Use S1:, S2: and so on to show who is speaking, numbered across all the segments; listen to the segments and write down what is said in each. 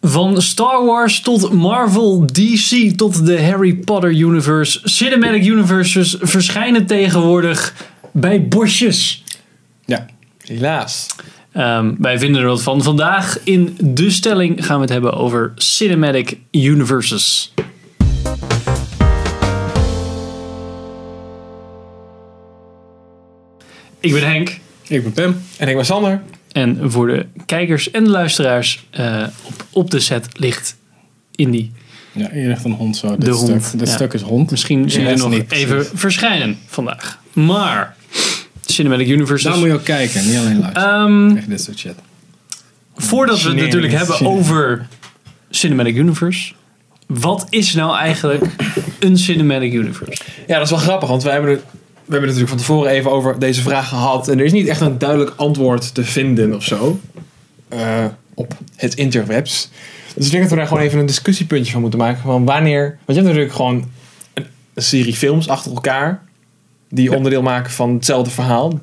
S1: Van Star Wars tot Marvel, DC tot de Harry Potter Universe. Cinematic Universes verschijnen tegenwoordig bij bosjes.
S2: Ja, helaas.
S1: Ehm, wij vinden er wat van. Vandaag in de stelling gaan we het hebben over Cinematic Universes. Ik ben Henk.
S2: Ik ben Pim. En ik ben Sander.
S1: En voor de kijkers en de luisteraars eh, op, op de set ligt Indy.
S2: Ja, hier ligt een hond zo. Dit,
S1: De
S2: stuk,
S1: hond,
S2: dit
S1: ja.
S2: stuk is hond.
S1: Misschien zien we
S2: rest
S1: nog
S2: niet, precies.
S1: even verschijnen vandaag. Maar Cinematic Universe.
S2: Daar moet je ook kijken, niet alleen luisteren.
S1: Dus- Ehm,
S2: Echt dit soort shit.
S1: voordat we het
S2: Generisch.
S1: natuurlijk hebben over Cinematic Universe. Wat is nou eigenlijk een Cinematic Universe?
S3: Ja, dat is wel grappig, want wij hebben, er, we hebben het natuurlijk van tevoren even over deze vraag gehad. En er is niet echt een duidelijk antwoord te vinden of zo eh, op het interwebs. Dus ik denk dat we daar gewoon even een discussiepuntje van moeten maken. Van wanneer. Want je hebt natuurlijk gewoon een, een serie films achter elkaar. die onderdeel maken van hetzelfde verhaal.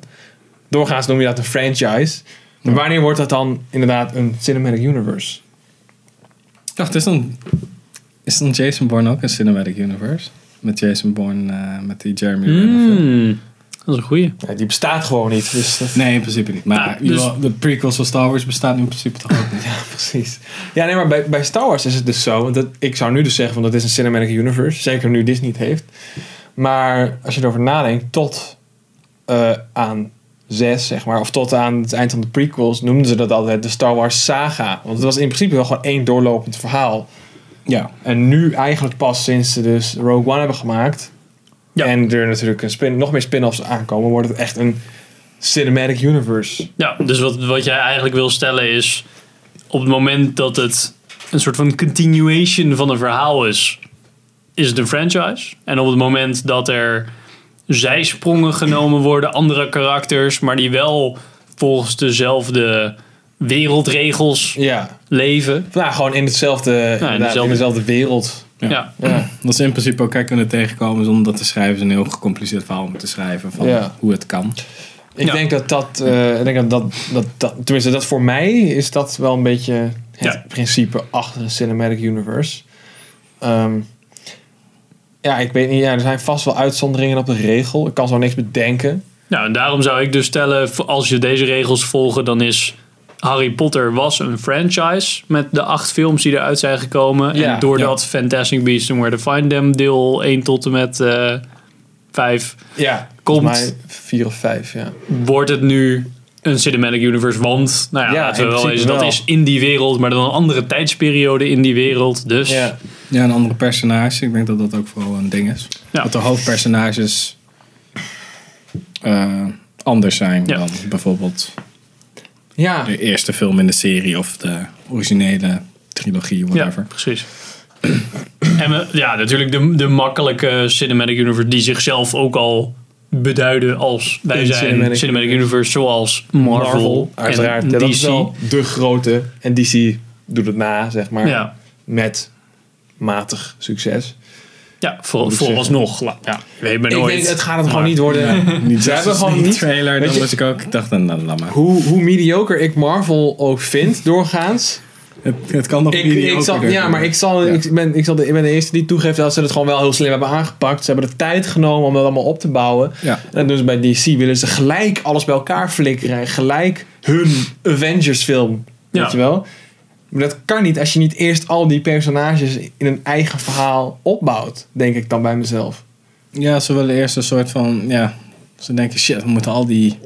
S3: Doorgaans noem je dat een franchise. Maar wanneer wordt dat dan inderdaad een cinematic universe?
S2: Ik dacht, is dan, is dan Jason Bourne ook een cinematic universe? Met Jason Bourne, eh, met die Jeremy Renner film.
S1: Hmm, dat is een goeie.
S3: Ja, die bestaat gewoon niet. Dus dat-
S2: Nee, in principe niet. Maar
S1: Nou, dus-
S2: jawel, de prequels van Star Wars bestaan in principe toch ook niet.
S3: Ja, precies. Ja, nee, maar bij, bij Star Wars is het dus zo. Want dat, ik zou nu dus zeggen, van dat is een cinematic universe. Zeker nu Disney het heeft. Maar als je erover nadenkt, tot eh, aan zes, zeg maar. Of tot aan het eind van de prequels noemden ze dat altijd de Star Wars saga. Want het was in principe wel gewoon één doorlopend verhaal.
S2: Ja.
S3: En nu eigenlijk pas sinds ze dus Rogue One hebben gemaakt.
S1: Ja.
S3: En er natuurlijk een spin, nog meer spin-offs aankomen. Wordt het echt een cinematic universe.
S1: Ja, dus wat, wat jij eigenlijk wil stellen is... op het moment dat het een soort van continuation van een verhaal is... is het een franchise. En op het moment dat er zijsprongen genomen worden... andere karakters, maar die wel volgens dezelfde wereldregels
S3: Ja.
S1: leven.
S3: Nou, gewoon in hetzelfde, inderdaad,
S1: dezelfde-
S3: in dezelfde wereld.
S1: Ja.
S2: Ja.
S3: Ja.
S2: Dat ze in principe elkaar kunnen tegenkomen zonder dat de schrijvers een heel gecompliceerd verhaal moeten schrijven van
S3: Ja.
S2: hoe het kan.
S3: Ik
S1: Ja.
S3: denk dat dat, eh, ik denk dat, dat, dat, dat, tenminste dat voor mij is dat wel een beetje het
S1: Ja.
S3: principe achter een cinematic universe. Ehm, ja, ik weet niet, ja, er zijn vast wel uitzonderingen op de regel. Ik kan zo niks bedenken.
S1: Nou, en daarom zou ik dus stellen... v- als je deze regels volgen, dan is... Harry Potter was een franchise met de acht films die eruit zijn gekomen.
S3: Ja,
S1: en doordat Fantastic Beasts and Where to Find Them deel 1 tot en met eh 5...
S3: Ja,
S1: Komt.
S3: volgens mij vier of vijf, ja.
S1: wordt het nu een cinematic universe. Want, nou ja,
S3: Ja,
S1: laten we
S3: in
S1: wel
S3: principe
S1: eens, dat
S3: wel.
S1: is in die wereld, maar dan een andere tijdsperiode in die wereld. Dus
S3: Ja,
S2: Ja, een andere personage. Ik denk dat dat ook vooral een ding is.
S1: Ja.
S2: Dat de hoofdpersonages eh, anders zijn
S1: Ja.
S2: dan bijvoorbeeld
S3: ja.
S2: de eerste film in de serie of de originele trilogie, whatever.
S1: Ja, precies. en we, ja, natuurlijk de, de makkelijke cinematic universe die zichzelf ook al beduiden als wij
S3: Een
S1: zijn cinematic,
S3: cinematic
S1: universe zoals Marvel,
S3: uiteraard.
S1: en
S3: Ja, dat
S1: DC.
S3: is wel de grote. En DC doet het na, zeg maar.
S1: Ja,
S3: Met matig succes.
S1: ja voor,
S3: ik
S1: vooralsnog. la- Ja, weet maar
S3: Ik
S1: nooit.
S3: denk, het gaat het
S1: Maar-
S3: gewoon niet worden.
S2: Niet
S3: Ze hebben gewoon niet-
S2: trailer,
S3: weet
S2: dan
S3: je-
S2: was ik ook. Ik dacht, nou, nou, laat maar.
S3: hoe, hoe mediocre ik Marvel ook vind doorgaans.
S2: Het, het kan nog
S3: Ik,
S2: mediocre
S3: ik zal, ja,
S2: worden.
S3: maar ik, zal,
S2: Ja.
S3: ik, ben, ik, zal de, ik ben de eerste die toegeeft dat ze het gewoon wel heel slim hebben aangepakt. Ze hebben de tijd genomen om dat allemaal op te bouwen.
S2: Ja.
S3: En dat doen ze bij DC. Willen ze gelijk alles bij elkaar flikkeren. En gelijk hun Avengers film.
S1: Ja.
S3: Weet je wel? Maar dat kan niet als je niet eerst al die personages in een eigen verhaal opbouwt. Denk ik dan bij mezelf.
S2: Ja, ze willen eerst een soort van, ja, ze denken shit, we moeten al die,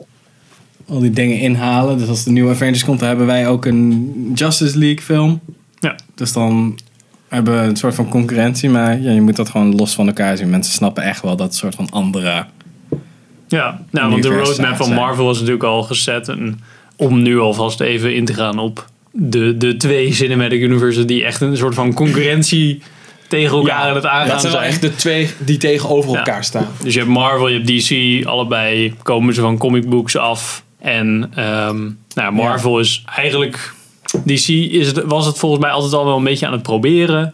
S2: al die dingen inhalen. Dus als de nieuwe Avengers komt, dan hebben wij ook een Justice League film.
S1: Ja.
S2: Dus dan hebben we een soort van concurrentie, maar ja, je moet dat gewoon los van elkaar zien. Mensen snappen echt wel dat soort van andere.
S1: Ja, nou, want de
S2: universe
S1: roadmap van
S2: zijn.
S1: Marvel was natuurlijk al gezet. En om nu alvast even in te gaan op de, de twee cinematic universes die echt een soort van concurrentie tegen elkaar aan het aangaan
S3: dat zijn wel
S1: zijn.
S3: echt de twee die tegenover
S1: Ja.
S3: elkaar staan.
S1: Dus je hebt Marvel, je hebt DC, allebei komen ze van comic books af. En ehm, nou, ja, Marvel is eigenlijk. DC is het, was het volgens mij altijd al wel een beetje aan het proberen.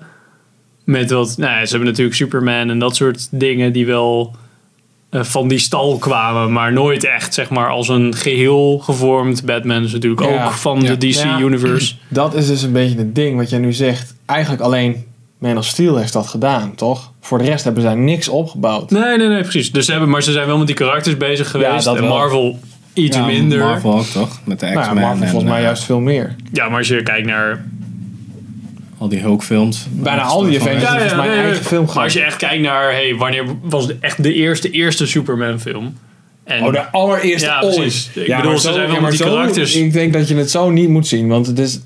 S1: Met wat. Nou, ja, ze hebben natuurlijk Superman en dat soort dingen die wel eh, van die stal kwamen. Maar nooit echt, zeg maar, als een geheel gevormd Batman. Is natuurlijk
S3: Ja.
S1: ook van
S2: Ja.
S1: de DC
S3: Ja.
S1: Universe.
S3: Dat is dus een beetje het ding wat jij nu zegt. Eigenlijk alleen Man of Steel heeft dat gedaan, toch? Voor de rest hebben ze daar niks opgebouwd.
S1: Nee, nee, nee, precies. Dus ze hebben, maar ze zijn wel met die karakters bezig geweest.
S3: dat
S1: en
S3: wel.
S1: Marvel iets
S2: Ja,
S1: minder.
S2: Marvel ook toch? Met de X-Men.
S3: Nou ja, Marvel
S2: en,
S3: volgens mij
S2: eh,
S3: juist veel meer.
S1: Ja, maar als je kijkt naar
S2: Al die Hulk-films.
S3: Bijna al die Avengers
S1: Ja,
S3: hebben
S1: ja,
S3: volgens mij
S1: nee,
S3: een
S1: nee.
S3: eigen film
S1: Maar als
S3: gehad.
S1: je echt kijkt naar, hey, wanneer was het echt de eerste, eerste Superman film? En
S3: Oh, de allereerste
S1: Ja, precies.
S3: ooit.
S1: Ik bedoel, ze
S3: maar
S1: zijn wel
S3: ja,
S1: met
S3: maar
S1: die karakters.
S3: Ik denk dat je het zo niet moet zien, want het is...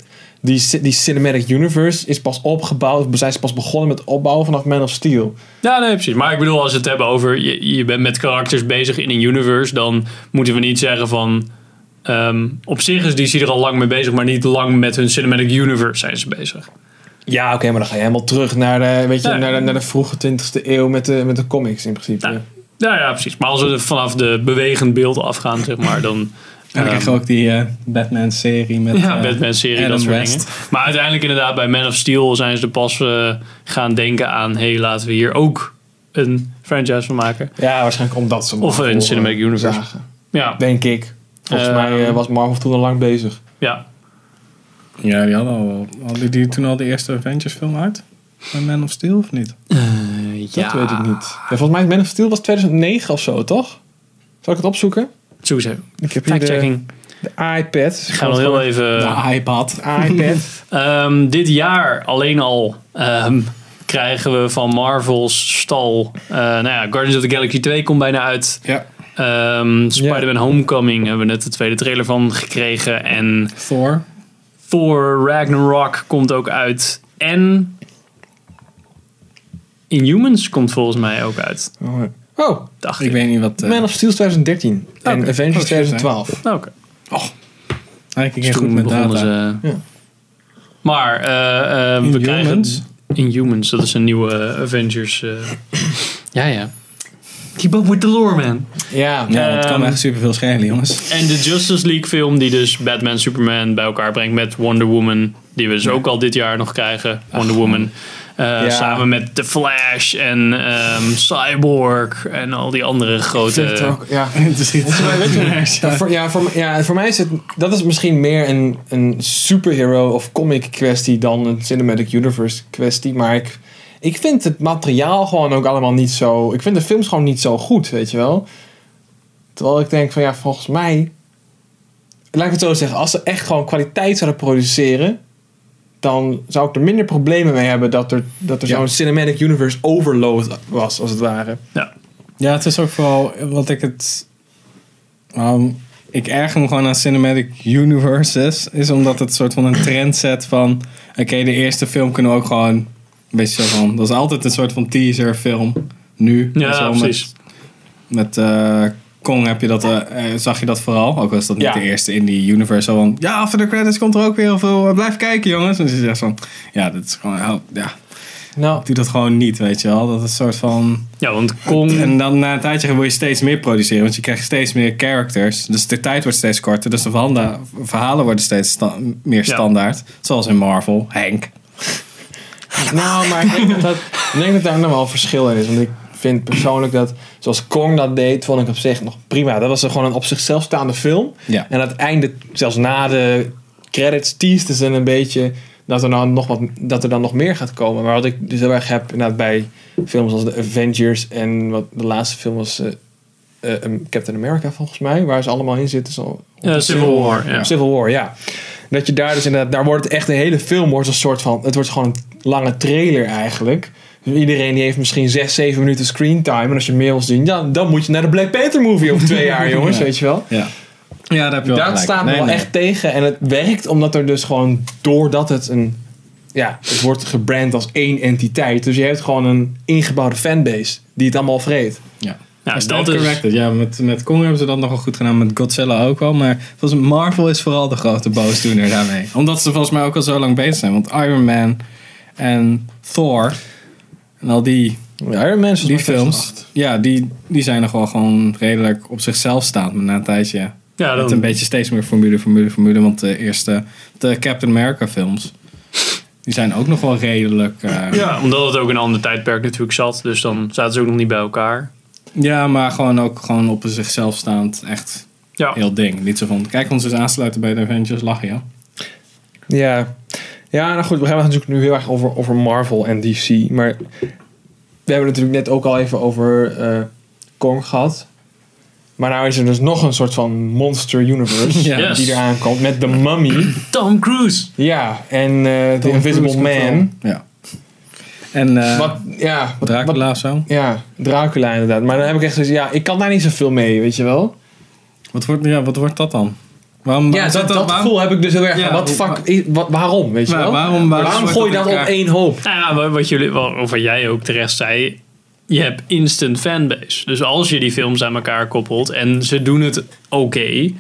S3: Die, ci- die Cinematic Universe is pas opgebouwd, zijn ze pas begonnen met opbouwen vanaf Man of Steel.
S1: Ja, nee, precies. Maar ik bedoel, als we het hebben over je, je bent met karakters bezig in een universe, dan moeten we niet zeggen van. ehm, op zich is DC er al lang mee bezig, maar niet lang met hun cinematic universe zijn ze bezig.
S3: Ja, oké, maar dan ga je helemaal terug naar de, weet je,
S1: Ja.
S3: naar de, naar de vroege 20e eeuw met de, met de comics in principe.
S1: Ja. Ja, ja, precies. Maar als we er vanaf de bewegend beeld afgaan, zeg maar, dan.
S2: En dan
S1: ehm,
S2: krijg je ook die eh, Batman-serie met...
S1: Ja,
S2: eh,
S1: Batman-serie,
S2: Adam
S1: dat soort
S2: West.
S1: dingen. Maar uiteindelijk inderdaad, bij Man of Steel zijn ze er pas eh, gaan denken aan... hé, hey, laten we hier ook een franchise van maken.
S3: Ja, waarschijnlijk omdat ze
S1: Of in
S3: Marvel,
S1: Cinematic
S3: eh,
S1: Universe.
S3: zagen.
S1: Ja,
S3: Denk ik. Volgens
S1: Eh,
S3: mij eh, was Marvel toen al lang bezig.
S1: ja.
S2: Ja, die hadden al... Hadden die toen al de eerste Avengers-film uit? Bij Man of Steel of niet?
S3: Dat weet ik niet. Ja, volgens mij is Man of Steel was 2009 of zo, toch? Zal ik het opzoeken?
S1: Sowieso.
S3: Ik heb hier de,
S1: Fact-checking.
S3: de iPad.
S1: Ik ga nog heel even...
S2: de iPad.
S3: iPad.
S1: Ehm, dit jaar alleen al ehm, krijgen we van Marvel's stal... eh, nou ja, Guardians of the Galaxy 2 komt bijna uit.
S2: Ja.
S1: Ehm, Spider-Man Homecoming hebben we net de tweede trailer van gekregen. En
S2: Thor.
S1: Thor Ragnarok komt ook uit. En Inhumans komt volgens mij ook uit.
S3: Oh,
S1: Dacht ik.
S2: Ik weet niet wat... eh,
S3: Man of Steel is 2013. en
S2: oké.
S3: Avengers
S2: Oh, shit,
S3: 2012.
S1: Nou, oké.
S2: Hij keek
S1: Dus
S2: echt Ah, goed
S1: toen
S2: met
S1: begonnen
S2: data.
S1: ze.
S3: Ja.
S1: Maar eh, eh, we krijgen
S2: Inhumans?
S1: Inhumans. Dat is een nieuwe eh, Avengers. eh. ja, ja. Keep up with the lore, man.
S3: Ja.
S2: Ja, het kan
S1: Ehm,
S2: echt superveel schelen, jongens.
S1: En de Justice League film die dus Batman, Superman bij elkaar brengt met Wonder Woman. Die we dus ook al dit jaar nog krijgen. Wonder Woman. Eh,
S3: Ja.
S1: Samen met The Flash en ehm, Cyborg en al die andere
S3: Vind ik
S1: grote...
S3: ook, ja.
S2: Het is iets-
S3: Ja, voor, ja, voor, ja, voor mij is het... Dat is misschien meer een, een superhero of comic kwestie dan een cinematic universe kwestie. Maar ik, ik vind het materiaal gewoon ook allemaal niet zo... Ik vind de films gewoon niet zo goed, weet je wel. Terwijl ik denk van ja, volgens mij... Laat ik het zo zeggen. Als ze echt gewoon kwaliteit zouden produceren... Dan zou ik er minder problemen mee hebben dat er, dat er
S2: Ja.
S3: zo'n cinematic universe overload was, als het ware.
S1: Ja.
S2: Ja, het is ook vooral wat ik het. Ehm, ik erger me gewoon aan cinematic universes. Is omdat het soort van een trend zet van. Oké, de eerste film kunnen we ook gewoon. Een beetje zo van. Dat is altijd een soort van teaserfilm. Nu.
S1: Ja,
S2: Zo
S1: precies.
S2: Met, met eh, Kong heb je dat, eh, eh, zag je dat vooral. Ook al is dat niet
S3: Ja.
S2: de eerste in die universe. Zo van. Ja, after de credits komt er ook weer heel veel. eh, blijf kijken, jongens. En ze zegt van. Ja, dat is gewoon. hou- Ja,
S3: Nou,
S2: doe dat gewoon niet, weet je wel. Dat is een soort van.
S1: Ja, want Kong...
S2: En dan na een tijdje wil je steeds meer produceren, want je krijgt steeds meer characters. Dus de tijd wordt steeds korter, dus de verhanda- verhalen worden steeds sta- meer
S1: Ja.
S2: standaard. Zoals in Marvel, Hank.
S3: Nou, maar ik denk dat, dat, ik denk dat daar nog wel een verschil in is. Want ik vind persoonlijk dat, zoals Kong dat deed, vond ik op zich nog prima. Dat was gewoon een op zichzelf staande film.
S2: Ja.
S3: En aan het einde, zelfs na de credits, teasten ze een beetje dat er, dan nog wat, dat er dan nog meer gaat komen. Maar wat ik dus heel erg heb inderdaad, bij films als de Avengers en wat de laatste film was eh, eh, um, Captain America volgens mij, waar ze allemaal in zitten. Zo,
S1: eh, Civil War. Ja.
S3: Civil War, ja. Dat je daar dus inderdaad, daar wordt het echt een hele film, wordt een soort van, het wordt gewoon een lange trailer eigenlijk. Dus iedereen die heeft misschien 6, 7 minuten screentime. En als je meer wil zien, ja, dan moet je naar de Black Panther movie over twee jaar, jongens,
S2: Ja.
S3: weet je wel.
S2: Ja, ja daar heb je wel
S3: Dat
S2: gelijk.
S3: staat me
S2: Nee,
S3: wel
S2: nee.
S3: echt tegen. En het werkt omdat er dus gewoon, doordat het een, ja, het wordt gebrand als één entiteit. Dus je hebt gewoon een ingebouwde fanbase die het allemaal vreet.
S2: Ja.
S1: Ja,
S2: Is
S1: dat
S2: dat
S1: is...
S2: correct? Ja, met, met Kong hebben ze dat nogal goed gedaan, met Godzilla ook wel. Maar volgens mij Marvel is vooral de grote boosdoener daarmee. Omdat ze volgens mij ook al zo lang bezig zijn. Want Iron Man en Thor en al die
S3: Iron Man is
S2: Die films, ja, die, die zijn nog wel gewoon redelijk op zichzelf staand. Maar na een tijdje
S1: Ja,
S2: het een
S1: dan,
S2: beetje steeds meer formule, formule, formule. Want de eerste, de Captain America films, die zijn ook nog wel redelijk... eh,
S1: ja, omdat het ook een ander tijdperk natuurlijk zat. Dus dan zaten ze ook nog niet bij elkaar.
S2: Ja, maar gewoon ook gewoon op een zichzelf staand echt
S1: Ja.
S2: heel ding. Niet zo van, kijk ons eens aansluiten bij de Avengers, lachen ja.
S3: Ja. Ja, nou goed, we hebben het natuurlijk nu heel erg over, over Marvel en DC. Maar we hebben het natuurlijk net ook al even over eh, Kong gehad. Maar nou is er dus nog een soort van monster universe
S2: Ja.
S1: Yes.
S3: die eraan komt met The Mummy.
S1: Tom Cruise.
S3: Ja, en eh, The
S2: Tom
S3: Invisible
S2: Cruise komt
S3: Man.
S2: wel. Ja. En eh
S3: Wat, ja, wat, wat-
S2: Dracula of zo.
S3: ja, Dracula inderdaad. Maar dan heb ik echt zoiets, ja, ik kan daar niet zoveel mee, weet je wel.
S2: Wat wordt, ja, wat wordt dat dan? Waarom,
S3: Ja,
S2: waarom-
S3: dat, dat
S2: waarom-
S3: gevoel heb ik dus heel erg.
S2: Ja,
S3: van, wat
S2: hoe-
S3: fuck, i- wat, waarom, weet je
S2: waar-
S3: wel?
S2: waarom, waarom,
S3: waarom
S2: wordt
S3: gooi je dat op
S2: elkaar-
S3: één hoop?
S1: Nou ja, maar wat jullie, wel- of wat jij ook terecht zei, je hebt instant fanbase. Dus als je die films aan elkaar koppelt en ze doen het oké,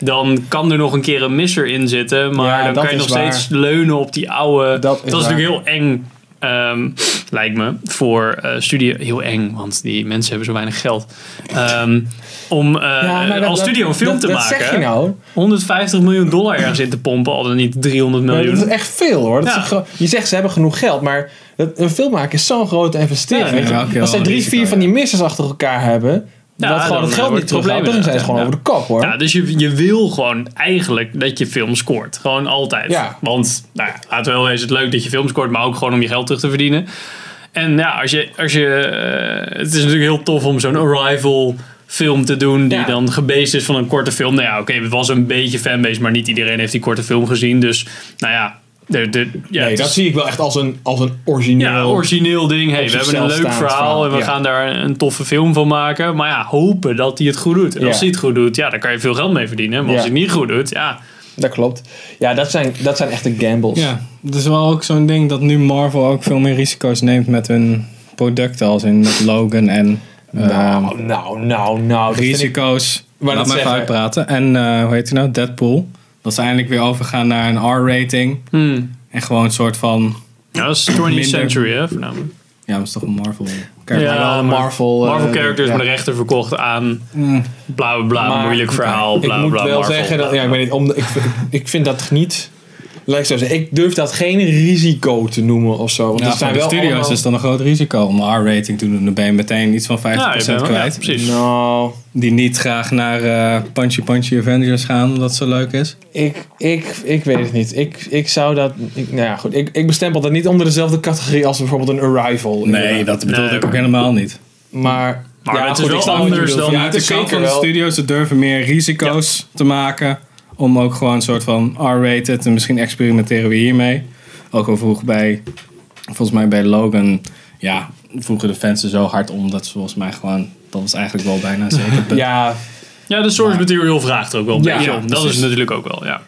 S1: dan kan er nog een keer een misser in zitten. Maar
S3: Ja,
S1: dan
S3: dat
S1: kan je nog
S3: is waar.
S1: steeds leunen op die oude.
S3: Dat is waar.
S1: natuurlijk heel eng, ehm, lijkt me, voor eh, studio. Heel eng, want die mensen hebben zo weinig geld. Ehm, om eh,
S3: Ja, maar dat-
S1: als
S3: dat-
S1: studio een film
S3: dat-
S1: te
S3: dat
S1: maken,
S3: zeg je nou.
S1: 150 miljoen dollar ergens in te pompen, al dan niet 300
S3: Maar
S1: miljoen.
S3: dat is echt veel hoor. Dat
S1: Ja.
S3: is gewoon- je zegt ze hebben genoeg geld, maar dat, een film maken is zo'n grote investering.
S1: Ja, ja,
S3: Weet je.
S2: ja, oké,
S3: Als
S2: wel
S3: zij
S2: een
S3: drie,
S2: risico,
S3: vier van die
S2: ja.
S3: missers achter elkaar hebben,
S1: Ja,
S3: dat
S1: dan,
S3: gewoon het
S1: eh,
S3: geld
S1: wordt
S3: niet
S1: het
S3: terug
S1: probleem
S3: gaat, dan zijn
S1: inderdaad,
S3: ze gewoon
S1: ja.
S3: over de kop hoor.
S1: Ja, dus je, je wil gewoon eigenlijk dat je film scoort. Gewoon altijd.
S3: Ja.
S1: Want, nou ja, laten we wel eens het leuk dat je film scoort, maar ook gewoon om je geld terug te verdienen. En ja, als je, als je, eh, het is natuurlijk heel tof om zo'n Arrival film te doen die
S3: Ja.
S1: dan gebased is van een korte film. Nou ja, oké, het was een beetje fanbase, maar niet iedereen heeft die korte film gezien. Dus, nou ja, de, de, ja
S3: nee,
S1: het
S3: dat
S1: is-
S3: zie ik wel echt als een, als een origineel.
S1: ja, origineel ding. Hey,
S3: Op
S1: we hebben een
S3: zichzelf
S1: leuk
S3: staand
S1: verhaal
S3: verhaal,
S1: en we
S3: ja.
S1: gaan daar een toffe film van maken. Maar ja, hopen dat hij het goed doet. En
S3: Ja.
S1: als hij het goed doet, ja, dan kan je veel geld mee verdienen. Maar als
S3: Ja.
S1: hij het niet goed doet, ja.
S3: Dat klopt. Ja, dat zijn, dat zijn echte gambles.
S2: Ja, het is wel ook zo'n ding dat nu Marvel ook veel meer risico's neemt met hun producten. Als in met Logan en eh,
S3: Nou, nou, nou, nou. dat vind ik-
S2: risico's.
S3: wou
S2: Laat
S3: net
S2: me even
S3: zeggen.
S2: uitpraten. En eh, hoe heet hij nou? Deadpool. Dat ze eindelijk weer overgaan naar een R-rating.
S1: Hmm.
S2: En gewoon een soort van...
S1: Ja, dat is 20th
S2: Minder.
S1: century, hè, voornamelijk.
S2: Ja, dat is toch een Marvel.
S1: Ja,
S2: Kijk, maar-
S3: wel een
S1: maar-
S3: Marvel, eh,
S1: Marvel characters
S3: ja.
S1: met de rechten verkocht aan
S2: Mm,
S1: bla bla bla,
S3: Maar-
S1: moeilijk verhaal, bla
S3: ik
S1: bla
S3: moet
S1: bla,
S3: wel
S1: Marvel,
S3: zeggen dat,
S1: bla,
S3: ja, ik
S1: bla.
S3: weet niet, om de- ik, vind- ik vind dat niet, laat ik zo zeggen, ik durf dat geen risico te noemen of zo. Want
S2: ja,
S3: het zijn
S2: voor de
S3: wel
S2: studio's
S3: allemaal-
S2: is dan een groot risico. Om een R-rating te doen, dan ben je meteen iets van 50%
S1: Ja, je bent wel-
S2: kwijt.
S1: ja, precies.
S3: Nou,
S2: Die niet graag naar eh Punchy Punchy Avengers gaan, omdat het zo leuk is.
S3: ik, ik, ik weet het niet. Ik, ik zou dat. Ik, nou ja, goed. Ik, ik bestempel dat niet onder dezelfde categorie als bijvoorbeeld een Arrival. inderdaad.
S2: dat
S1: bedoelde ik ook
S2: helemaal niet.
S3: Maar.
S1: Maar
S3: ja,
S1: het is
S3: goed,
S1: wel
S3: ik snap wat je
S1: anders
S3: bedoelt.
S1: dan-
S3: Ja,
S2: Ja, het is
S3: zeker
S2: van de
S3: wel.
S2: studio's, ze durven meer risico's te maken. Om ook gewoon een soort van R-rated. En misschien experimenteren we hiermee. Ook al vroeg bij, volgens mij bij Logan. Ja, vroegen de fans er zo hard om. Dat ze volgens mij gewoon, dat was eigenlijk wel bijna zeker.
S3: Ja,
S1: Ja, de source material vraagt er ook wel een
S3: Ja,
S1: beetje
S3: ja,
S1: om. Dat is
S2: precies.
S1: natuurlijk ook wel, ja.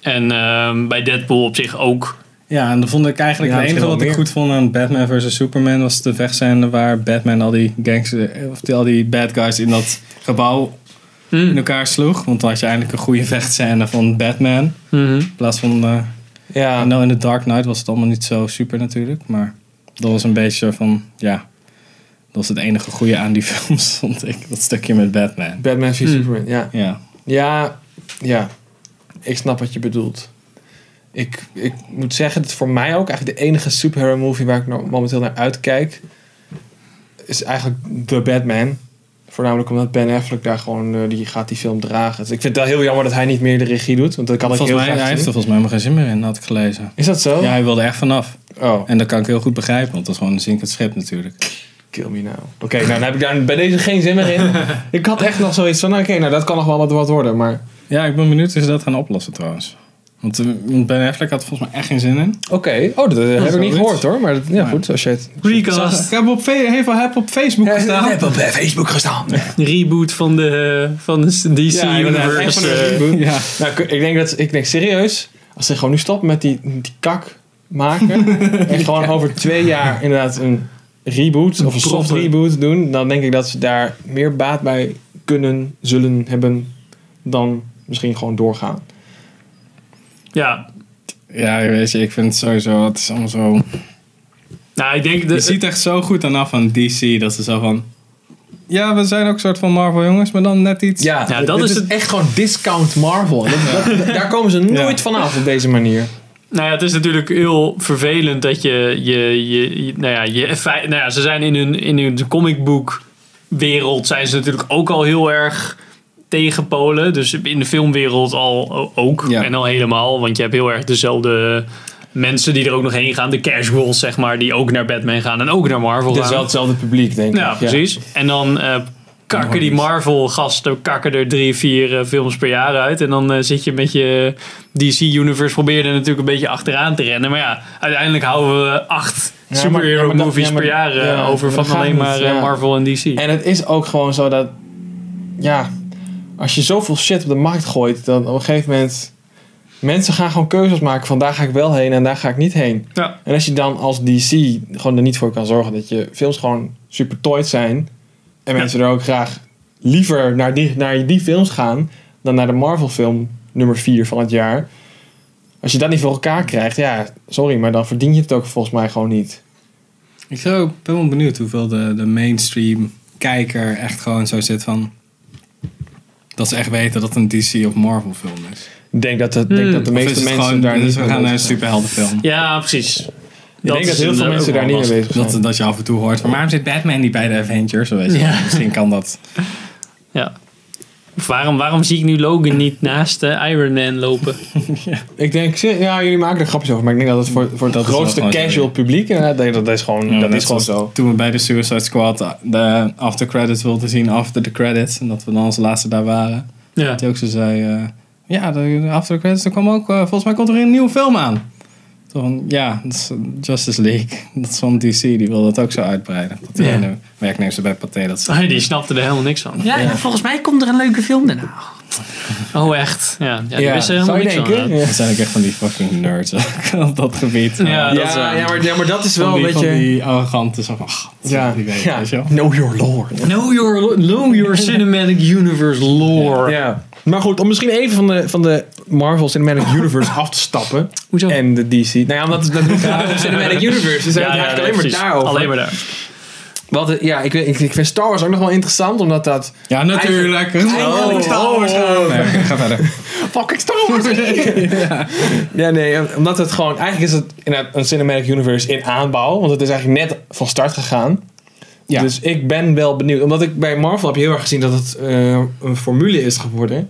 S1: En ehm, bij Deadpool op zich ook.
S2: Ja, en dan vond ik eigenlijk
S3: Ja,
S2: het enige
S3: misschien wel
S2: wat ik
S3: meer.
S2: goed vond aan Batman vs. Superman was de vechtscène waar Batman al die gangster, of die, al die bad guys in dat gebouw in elkaar sloeg. Want dan had je eindelijk een goede vechtscène van Batman.
S3: Mhm.
S2: In plaats van, eh,
S3: ja.
S2: nou in The Dark Knight was het allemaal niet zo super natuurlijk. Maar dat was een beetje van, ja, dat was het enige goede aan die films, vond ik. Dat stukje met Batman.
S3: Batman v
S1: Hmm.
S3: Superman. Ja.
S2: Ja,
S3: Ja, ja. Ik snap wat je bedoelt. Ik, ik moet zeggen dat voor mij ook eigenlijk de enige superhero movie waar ik nou momenteel naar uitkijk is eigenlijk The Batman. Voornamelijk omdat Ben Affleck daar gewoon eh, die gaat die film dragen. Dus ik vind het wel heel jammer dat hij niet meer de regie doet, want dat kan ik
S2: volgens
S3: heel
S2: mij, hij
S3: graag
S2: heeft
S3: zien.
S2: er volgens mij helemaal geen zin meer in, had ik gelezen.
S3: Is dat zo?
S2: Ja, hij wilde echt vanaf.
S3: Oh,
S2: En dat kan ik heel goed begrijpen, want dat is gewoon een zinkend schip natuurlijk.
S3: kill me now. Oké, nou dan heb ik daar bij deze geen zin meer in. ik had echt nog zoiets van, nou, oké, nou dat kan nog wel wat, wat worden, maar
S2: Ja, ik ben benieuwd hoe ze dat gaan oplossen trouwens. Want eh, Ben Affleck had er volgens mij echt geen zin in.
S3: oké. Oh, dat, eh, heb ik niet
S2: zoiets.
S3: gehoord hoor, maar dat- ja,
S2: Maar-
S3: goed, als je het...
S1: Recast.
S2: heb op, heb op Facebook
S3: op Facebook gestaan.
S1: Reboot van de, van de DC
S3: Ja, inderdaad. Echt van
S1: Universe.
S3: een
S1: eh,
S3: reboot.
S2: Ja.
S3: Nou, ik- ik denk dat ik denk serieus, als ze gewoon nu stopt met die, die kak maken en gewoon over twee jaar inderdaad een reboot of een soft
S1: proper-
S3: reboot doen, dan denk ik dat ze daar meer baat bij kunnen, zullen hebben dan misschien gewoon doorgaan.
S1: Ja,
S2: Ja, weet je, ik vind het sowieso, het is allemaal zo...
S1: nou ik
S3: Eh,
S1: denk...
S2: Je
S1: dat
S2: ziet echt zo goed aan af van DC, dat ze zo van... Ja, we zijn ook een soort van Marvel jongens, maar dan net iets...
S1: Ja, dat
S3: dit
S1: is het-
S3: echt gewoon discount Marvel. Dat- dat- daar komen ze nooit vanaf op deze manier.
S1: Nou ja, het is natuurlijk heel vervelend dat je, je, je, je- nou ja, je, fei- nou ja, ze zijn in hun, in hun comicboek wereld zijn ze natuurlijk ook al heel erg tegen Polen. Dus in de filmwereld al o- ook.
S2: Ja.
S1: En al helemaal. Want je hebt heel erg dezelfde mensen die er ook nog heen gaan. De casuals, zeg maar, die ook naar Batman gaan en ook naar Marvel
S3: Het is
S1: gaan.
S3: wel hetzelfde publiek, denk ik.
S1: Ja, precies. En dan eh, kakken die Marvel-gasten kakken er drie, vier eh, films per jaar uit. En dan eh, zit je met je DC-universe, probeerde natuurlijk een beetje achteraan te rennen. Maar ja, uiteindelijk houden we acht
S3: Ja, maar- ja, maar dat-
S1: superhero-movies
S3: ja, maar-
S1: per jaar eh,
S3: ja,
S1: over
S3: maar
S1: van
S3: dat gaat
S1: alleen
S3: niet,
S1: maar eh,
S3: ja.
S1: Marvel en DC.
S3: En het is ook gewoon zo dat. Ja, als je zoveel shit op de markt gooit, dan op een gegeven moment. Mensen gaan gewoon keuzes maken van daar ga ik wel heen en daar ga ik niet heen.
S1: Ja.
S3: En als je dan als DC gewoon er niet voor kan zorgen dat je films gewoon super toyed zijn. En mensen er ook graag liever naar die, naar die films gaan dan naar de Marvel film nummer 4 van het jaar. Als je dat niet voor elkaar krijgt, ja, sorry, maar dan verdien je het ook volgens mij gewoon niet.
S2: Ik ben ook helemaal benieuwd hoeveel de, de mainstream kijker echt gewoon zo zit van... Dat ze echt weten dat het een DC of Marvel film is.
S3: Ik denk dat, het, denk
S1: Hmm.
S3: dat de
S2: Of is
S3: meeste
S2: het
S3: mensen
S2: gewoon,
S3: daar
S2: dus
S3: niet
S2: we
S3: mee
S2: gaan naar een
S3: bezig zijn.
S2: superheldenfilm.
S1: ja, precies.
S3: Ik denk dat heel
S2: eh,
S1: eh,
S3: veel mensen daar niet mee bezig zijn.
S2: Dat, dat je af en toe hoort van, waarom zit Batman niet bij de Avengers? Zo Weet je
S1: Ja.
S2: wel. Misschien kan dat.
S1: Ja. Of waarom, waarom zie ik nu Logan niet naast eh, Iron Man lopen?
S3: Ik denk, zie- ja, jullie maken er grapjes over, maar ik denk dat het voor, voor het
S2: Dat is wel
S3: grootste
S2: gewoon zo,
S3: casual publiek, inderdaad, denk ik dat, dat is gewoon, dat
S2: net
S3: is gewoon
S2: zoals
S3: zo.
S2: Toen we bij de Suicide Squad eh, de after credits wilden zien, after the credits, en dat we dan als laatste daar waren.
S1: Ja.
S2: Dat hij ook zo zei, eh, ja, de, de after credits, er kwam ook, eh, volgens mij komt er een nieuwe film aan. Toen van, ja, dat is eh, Justice League, dat is van DC, die wil dat ook zo uitbreiden. Dat die
S1: Ja.
S2: ene werknemster bij Pathé dat ze...
S1: Ah, Die snapte er helemaal niks van. Ja, volgens mij komt er een leuke film daarna. Oh, echt? Ja, ja, die wisten er helemaal
S3: zou je
S1: niks van.
S3: denken? Ja.
S2: Dat zijn ook echt van die fucking nerds ook, op dat gebied.
S1: Ja, dat is
S3: Ja,
S1: waar.
S3: ja, maar, ja, maar dat is
S2: Van
S3: wel een
S2: die, van
S3: beetje...
S2: die arrogante, zo van, "Ach, dat
S3: Ja,
S2: die weet,
S3: ja.
S2: weet je wel.
S3: know your lore.
S1: Know your, know your cinematic universe lore.
S3: Ja. Maar goed, om misschien even van de, van de Marvel Cinematic Universe af te stappen.
S1: Hoezo?
S3: En de DC. Nou ja, omdat het natuurlijk gaat over Cinematic Universe. Dus
S1: Ja,
S3: ja,
S1: ja,
S3: eigenlijk
S1: nee,
S3: alleen maar
S1: precies.
S3: daarover.
S1: Alleen maar daar.
S3: Wat, eh, ja, ik, weet- ik, ik vind Star Wars ook nog wel interessant, omdat dat...
S2: Ja, natuurlijk.
S3: Eindelijk
S2: Oh,
S3: Star Wars.
S2: oh. Nee, ga verder.
S3: Fucking Star Wars! ja, nee, omdat het gewoon... Eigenlijk is het inderdaad een Cinematic Universe in aanbouw. Want het is eigenlijk net van start gegaan.
S2: Ja.
S3: Dus ik ben wel benieuwd. Omdat ik bij Marvel heb je heel erg gezien dat het eh, een formule is geworden. Ja,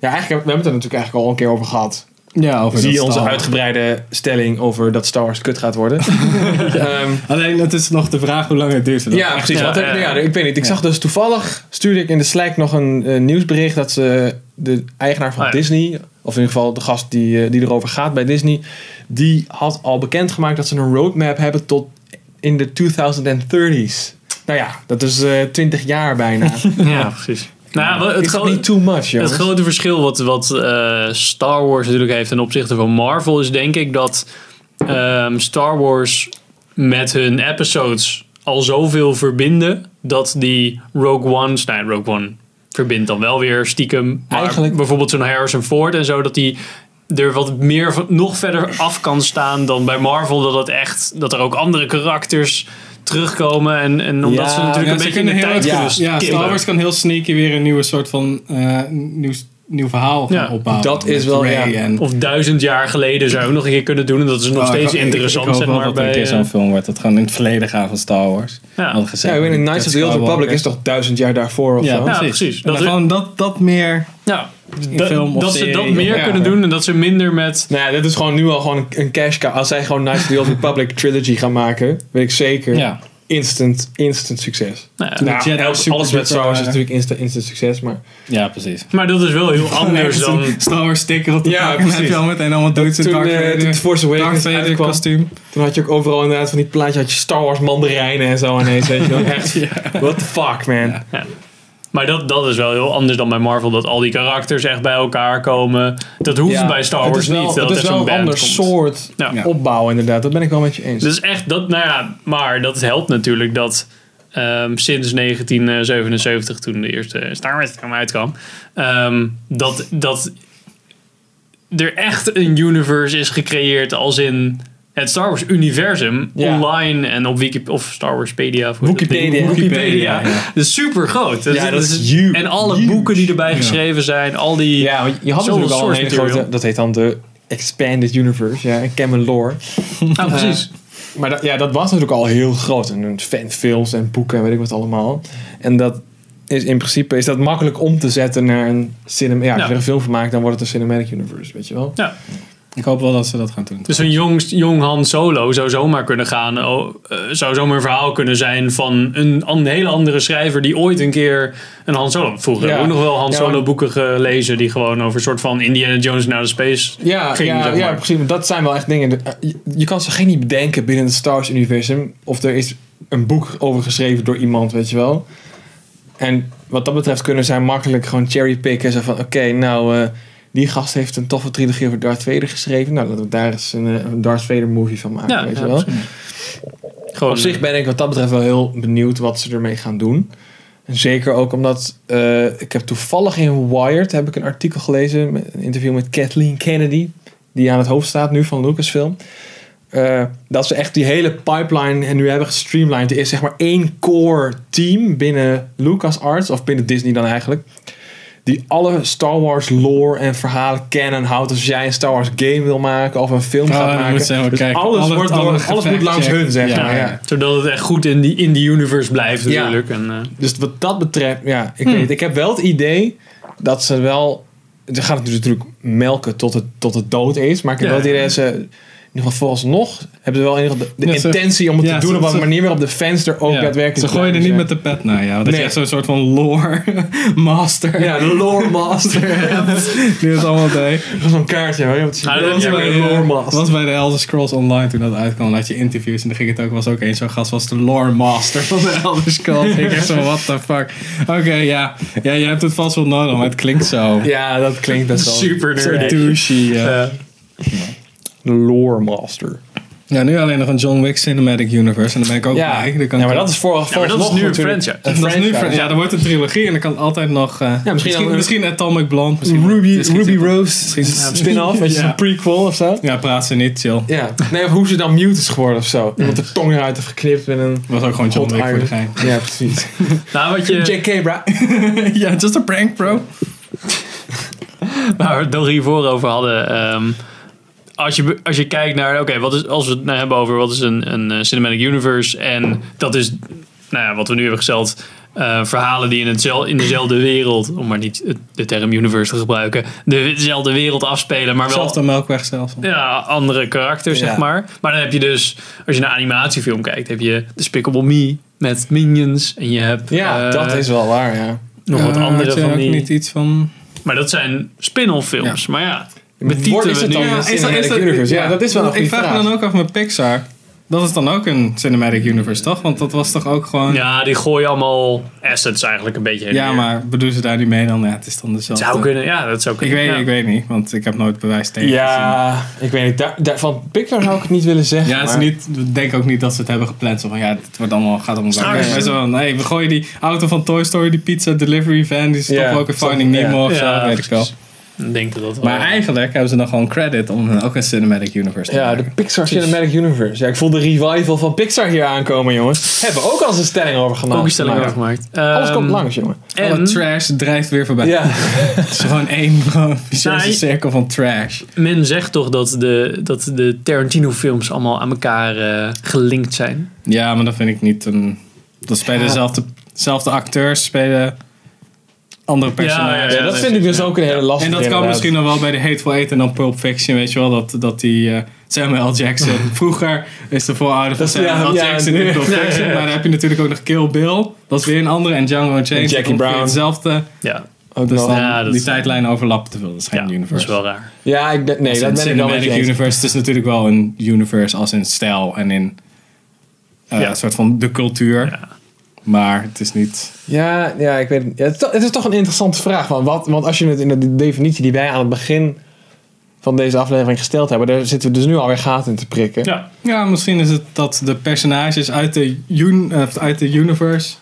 S3: eigenlijk, hebben- we hebben het er natuurlijk eigenlijk al een keer over gehad.
S2: Ja, over
S3: Zie
S2: dat
S3: onze
S2: Star-
S3: uitgebreide stelling over dat Star Wars kut gaat worden. Ehm,
S2: Alleen, het is nog de vraag hoe lang het duurt.
S3: ja, precies.
S1: Ja,
S3: want, eh,
S1: ja.
S3: nou ja, ik weet niet. Ik
S2: Ja.
S3: zag dus toevallig, stuurde ik in de Slack nog een eh, nieuwsbericht dat ze eh, de eigenaar van
S1: Oh ja.
S3: Disney, of in ieder geval de gast die, eh, die erover gaat bij Disney, die had al bekendgemaakt dat ze een roadmap hebben tot in de 2030s. Nou ja, dat is eh 20 jaar bijna.
S1: Ja, precies. Nou, ja, het,
S3: is dat
S1: gro-
S3: niet too much,
S1: het
S3: jongens?
S1: grote verschil wat, wat eh, Star Wars natuurlijk heeft ten opzichte van Marvel is denk ik dat ehm, Star Wars met hun episodes al zoveel verbinden dat die Rogue One, nee, Rogue One verbindt dan wel weer stiekem. Maar
S3: Eigenlijk-
S1: bijvoorbeeld zo'n Harrison Ford en zo, dat die er wat meer van- nog verder af kan staan dan bij Marvel. Dat het echt, dat er ook andere karakters terugkomen en, en omdat
S3: Ja,
S1: ze natuurlijk
S2: Eh, Ja,
S1: een
S2: ze
S1: beetje in de
S2: kunnen
S1: tijd
S2: heel
S1: kunnen
S2: erg- ja, ja,
S1: skillen.
S2: Star Wars kan heel sneaky weer een nieuwe soort van eh, nieuw, nieuw verhaal gaan
S1: Ja.
S2: opbouwen.
S3: Dat is
S2: Met
S3: wel,
S2: Rey
S3: ja.
S2: en-
S1: Of duizend jaar geleden zou je ook nog een keer kunnen doen. En dat is nog
S2: Oh,
S1: steeds
S2: ik- ik-
S1: interessant,
S2: ik hoop
S1: zeg
S2: wel
S1: maar.
S2: dat er een
S1: Bij,
S2: keer zo'n
S1: eh,
S2: film wordt dat gewoon in het verleden gaan van Star Wars.
S1: Ja.
S2: Hadden gezegd,
S3: Ja, ik weet niet,
S2: dat
S3: Knights of the
S2: Skywalker-
S3: Old Republic is toch duizend jaar daarvoor of
S2: Ja,
S3: zo?
S1: Ja,
S2: precies.
S1: precies.
S2: En
S1: Dat
S2: dan
S1: is-
S2: gewoon dat, dat meer...
S1: ja, dat-
S2: film of
S1: dat ze dat
S2: serie.
S1: meer
S3: Ja.
S1: kunnen doen en dat ze minder met...
S3: Nou ja, dit is gewoon nu al gewoon een cash cow. Als zij gewoon Knights of the Old Republic trilogy gaan maken, weet ik zeker.
S2: Ja.
S3: Instant, instant succes.
S1: Nou ja.
S2: de
S3: Nou,
S2: Jedi
S3: elk-
S2: super
S3: alles met Star
S1: eh,
S3: Wars
S2: waren.
S3: is natuurlijk instant, instant succes, maar...
S2: ja, precies.
S1: Maar dat is wel heel anders dan...
S2: Een Star Wars sticker op de
S3: Ja,
S2: ja, pak. En dan heb
S3: precies.
S2: je al meteen allemaal dudes in
S3: Toen,
S2: Darth
S3: eh, toen
S2: Vader.
S3: Force
S2: Darth
S3: Awakens
S2: Vader
S3: uitkwam,
S2: kostuum.
S3: toen had je ook overal inderdaad van die plaatjes, had je Star Wars mandarijnen en zo ineens, weet je wel. Echt, what the fuck, man.
S1: Maar dat, dat is wel heel anders dan bij Marvel. Dat al die karakters echt bij elkaar komen. Dat hoeft
S3: Ja,
S1: bij Star
S3: het
S1: Wars
S3: is wel-
S1: niet. Dat
S3: Het
S1: het
S3: is
S1: echt
S3: wel
S1: zo'n
S3: een
S1: band
S3: ander
S1: komt.
S3: soort
S1: Ja.
S2: Ja.
S3: opbouw inderdaad, dat ben ik wel met je eens.
S1: Dus echt dat, nou ja, maar dat helpt natuurlijk dat ehm, sinds 1977, toen de eerste Star Wars film uitkwam, ehm, dat, dat er echt een universe is gecreëerd als in het Star Wars universum
S3: Ja.
S1: online en op Wikipedia of Star Warspedia. of hoe heet dat ding?
S3: Wikipedia.
S1: Wikipedia.
S2: Wikipedia,
S1: Dat is super groot.
S3: Ja, dat is huge.
S1: En alle
S3: Huge.
S1: boeken die erbij
S2: Ja.
S1: geschreven zijn, al die...
S3: Ja, want je had
S1: Zoveel
S3: natuurlijk al een
S1: source
S3: hele
S1: material.
S3: grote, dat heet dan de Expanded Universe, ja, en Cameron Lore.
S1: Ah, precies.
S3: maar dat, ja, dat was natuurlijk al heel groot. En een fanfilms en boeken en weet ik wat allemaal. En dat is in principe is dat makkelijk om te zetten naar een cinema. Ja, als je
S1: Ja.
S3: er een film van maakt, dan wordt het een cinematic universe, weet je wel.
S1: Ja.
S2: Ik hoop wel dat ze dat gaan doen.
S1: Dus een jong, jong Han Solo zou zomaar kunnen gaan. oh, eh, zou zomaar een verhaal kunnen zijn van een, an- hele andere schrijver die ooit een keer een Han Solo. Vroeger
S3: Ja.
S1: hebben we ook nog wel Han
S3: Ja,
S1: Solo
S3: maar-
S1: boeken gelezen die gewoon over een soort van Indiana Jones naar de space.
S3: Ja,
S1: Ging,
S3: ja,
S1: zeg maar.
S3: ja, precies. Want Dat zijn wel echt dingen. De- eh, Je, je kan ze geen niet bedenken binnen het Star Wars universum. Of er is een boek over geschreven door iemand, weet je wel. En wat dat betreft kunnen zij makkelijk gewoon cherrypicken. Zo van, oké, nou, eh, die gast heeft een toffe trilogie over Darth Vader geschreven. Nou, laten we daar eens een, eh, een Darth Vader movie van maken,
S1: Ja,
S3: weet
S1: ja,
S3: je wel.
S1: Gewoon, eh,
S3: Op zich ben ik wat dat betreft wel heel benieuwd wat ze ermee gaan doen. En Zeker ook omdat eh, ik heb toevallig in Wired heb ik een artikel gelezen, met- een interview met Kathleen Kennedy, die aan het hoofd staat nu van Lucasfilm. Eh, dat ze echt die hele pipeline en nu hebben gestreamlined. Er is zeg maar één core team binnen LucasArts, of binnen Disney dan eigenlijk, die alle Star Wars lore en verhalen kennen en houdt. Dus als jij een Star Wars game wil maken of een film
S2: Oh,
S3: gaat
S2: dan
S3: maken,
S2: moeten ze helemaal
S3: dus
S2: kijken.
S3: alles,
S2: Alle-
S3: wordt
S2: alle
S3: door- alles moet langs
S2: gefact-check.
S3: hun, zeg
S2: Ja,
S3: maar.
S2: ja.
S3: Ja.
S1: Zodat het echt goed in die, in die universe blijft
S3: Ja.
S1: natuurlijk. En, eh,
S3: Dus wat dat betreft, ja, ik
S2: Hmm.
S3: weet het. Ik heb wel het idee dat ze wel. Ze gaan het natuurlijk melken tot het, tot het dood is. Maar ik heb
S1: Ja.
S3: wel het idee dat ze. In ieder geval vooralsnog hebben ze wel in ieder geval de, de
S2: Ja, ze-
S3: intentie om het
S2: ja,
S3: te doen
S2: ze-
S3: op een
S2: ze-
S3: manier waarop de fans er ook
S2: Ja,
S3: daadwerkelijk
S2: Ze gooien er
S3: bij
S2: niet
S3: zijn.
S2: met de pet naar jou. Dat
S3: Nee.
S2: is echt zo'n soort van lore master.
S3: Ja, de lore master.
S2: Die het allemaal deed.
S3: Zo'n kaartje, hoor. Wat is
S1: Ah,
S3: dat?
S1: dat- ja,
S3: Ja,
S1: maar
S3: de
S1: de
S3: lore
S2: Dat was
S3: master.
S2: bij de Elder Scrolls Online toen dat uitkwam. Dat je interviews en dan ging het ook, was ook eens zo'n gast, was de lore master van de Elder Scrolls. ik echt zo, what the fuck. Oké, ja. ja, je hebt het vast wel nodig, maar het klinkt zo.
S3: Ja, dat klinkt best wel.
S1: super
S2: Zo
S1: nerd.
S2: douchey. ja.
S1: Eh,
S3: De lore master.
S2: Ja, nu alleen nog een John Wick Cinematic Universe en dan ben ik ook
S3: Ja,
S2: blij. Dan kan
S3: ja,
S2: ik
S3: maar
S2: ook-
S3: dat is voor,
S1: maar dat is
S3: vooralsnog
S1: nu een
S3: natuurlijk-
S1: franchise.
S2: dat is nu,
S3: franchise.
S2: ja, dan wordt een trilogie en dan kan altijd nog. eh,
S3: misschien
S2: misschien,
S3: al
S2: misschien,
S3: een-
S2: Atomic Blonde, misschien
S3: Ruby,
S2: misschien
S3: Ruby
S2: zit-
S3: Rose.
S2: misschien-
S3: Een spin-off, weet je,
S2: Ja.
S3: een prequel of zo.
S2: Ja, praat ze niet, chill.
S3: Ja, nee, of hoe ze dan mute is geworden of zo. Iemand de tong eruit heeft geknipt met een...
S2: Was ook gewoon John
S3: Hot
S2: Wick voor de
S3: iron.
S2: gein.
S3: Ja, precies.
S1: nou, wat je,
S3: JK, bra.
S2: ja, just a prank, bro.
S1: waar we het nog hiervoor over hadden. ehm, als, je, be- als je kijkt naar, oké, wat is als we het nou hebben over wat is een, een eh, cinematic universe. En dat is, nou ja, wat we nu hebben gesteld. eh, verhalen die in, hetzel, in dezelfde wereld, om maar niet het- de term universe te gebruiken, de- dezelfde wereld afspelen, maar wel
S2: Zelfde melkweg zelfs.
S1: ja, andere karakters,
S3: Ja.
S1: zeg maar. Maar dan heb je dus, als je naar een animatiefilm kijkt, heb je Despicable Me met Minions. En je hebt
S3: Ja,
S1: eh,
S3: dat is wel waar, ja.
S1: nog wat
S2: Eh, had
S1: andere
S2: je
S1: van
S2: ook
S1: die.
S2: niet iets van...
S1: Maar dat zijn spin-off films. Maar ja, met
S3: Wordt-
S1: titel
S3: is het dan-
S1: nu.
S3: Ja, Cinematic Universe, ja, dat is wel een
S2: Ik
S3: goede
S2: vraag me
S3: vraag.
S2: dan ook af met Pixar. Dat is dan ook een Cinematic Universe, toch? Want dat was toch ook gewoon... Ja,
S1: Ja, die gooien allemaal assets eigenlijk een beetje heen en weer.
S2: maar bedoelen ze daar nu mee dan? Ja, het is dan
S1: Het
S2: dezelfde...
S1: zou kunnen, ja, dat zou
S2: Ik
S1: kunnen.
S2: weet,
S1: ja.
S2: ik weet niet, want ik heb nooit bewijs tegen gezien.
S3: Ja, ik weet niet. Daar, daar, van Pixar zou ik het niet willen zeggen.
S2: Ja, het is
S3: maar-
S2: niet, ik denk ook niet dat ze het hebben gepland. Zo van, ja, het wordt allemaal, gaat allemaal
S1: Star
S2: weg.
S1: Wars.
S2: Maar zo van, hey, we gooien die auto van Toy Story, die pizza delivery van, die stoppen
S3: Ja,
S2: ook in
S3: stop-
S2: Finding
S3: ja.
S2: Nemo of zo,
S1: Ja,
S2: weet ik wel.
S1: precies. Ik denk dat dat wel-
S2: Maar eigenlijk hebben ze dan gewoon credit om hun ook een Cinematic Universe te
S3: Ja, de
S2: maken.
S3: Pixar Cinematic Universe. Ja, ik voel de revival van Pixar hier aankomen, jongens. Hebben we ook al eens een stelling over gemaakt.
S1: ook een stelling
S3: Maar-
S1: over gemaakt.
S3: Alles
S1: Ehm,
S3: komt langs, jongen.
S2: Alle
S1: En
S2: trash drijft weer voorbij.
S3: Ja.
S2: Het is gewoon één gewoon vicieuze
S1: Nee.
S2: cirkel van trash.
S1: men zegt toch dat de, dat de Tarantino-films allemaal aan elkaar eh, gelinkt zijn.
S2: Ja, maar dat vind ik niet een... Dat spelen
S3: Ja.
S2: dezelfde, dezelfde acteurs, spelen andere personages.
S1: Ja,
S3: Ja, dat
S1: dat
S3: vind ik dus
S1: ja.
S3: ook een hele lastige.
S2: En dat kan
S3: inderdaad.
S2: misschien nog wel bij de Hateful Eight en dan Pulp Fiction, weet je wel, dat, dat die eh, Samuel L. Jackson, vroeger is de voorouder van
S3: Dat is- ja,
S2: Samuel L.
S3: ja,
S2: Jackson
S3: nu-
S2: in Pulp Fiction, maar dan heb je natuurlijk ook nog Kill Bill, dat is weer een andere, en Django Unchained,
S3: Jackie
S2: dat ongeveer
S3: Brown.
S2: hetzelfde,
S1: Ja,
S3: Ook
S2: dus
S3: nog.
S2: dan
S1: Ja, dat
S2: die
S1: is-
S2: tijdlijn overlappen te veel, dat is geen
S1: ja
S2: universe.
S1: dat is wel raar.
S3: Ja, ik, ben- nee,
S2: Als
S3: dat
S2: in
S3: ben ik dan met je
S2: cinematic
S3: eens.
S2: universe, het is natuurlijk wel een universe als in stijl en in eh,
S1: Ja.
S2: een soort van de cultuur,
S1: Ja.
S2: maar het is niet...
S3: Ja, ja, ik weet het. niet. Ja, het, is toch- het is toch een interessante vraag. Want, wat, want als je het in de definitie die wij aan het begin van deze aflevering gesteld hebben, daar zitten we dus nu alweer gaten in te prikken.
S1: Ja.
S2: Ja, misschien is het dat de personages uit de, un- of uit de universe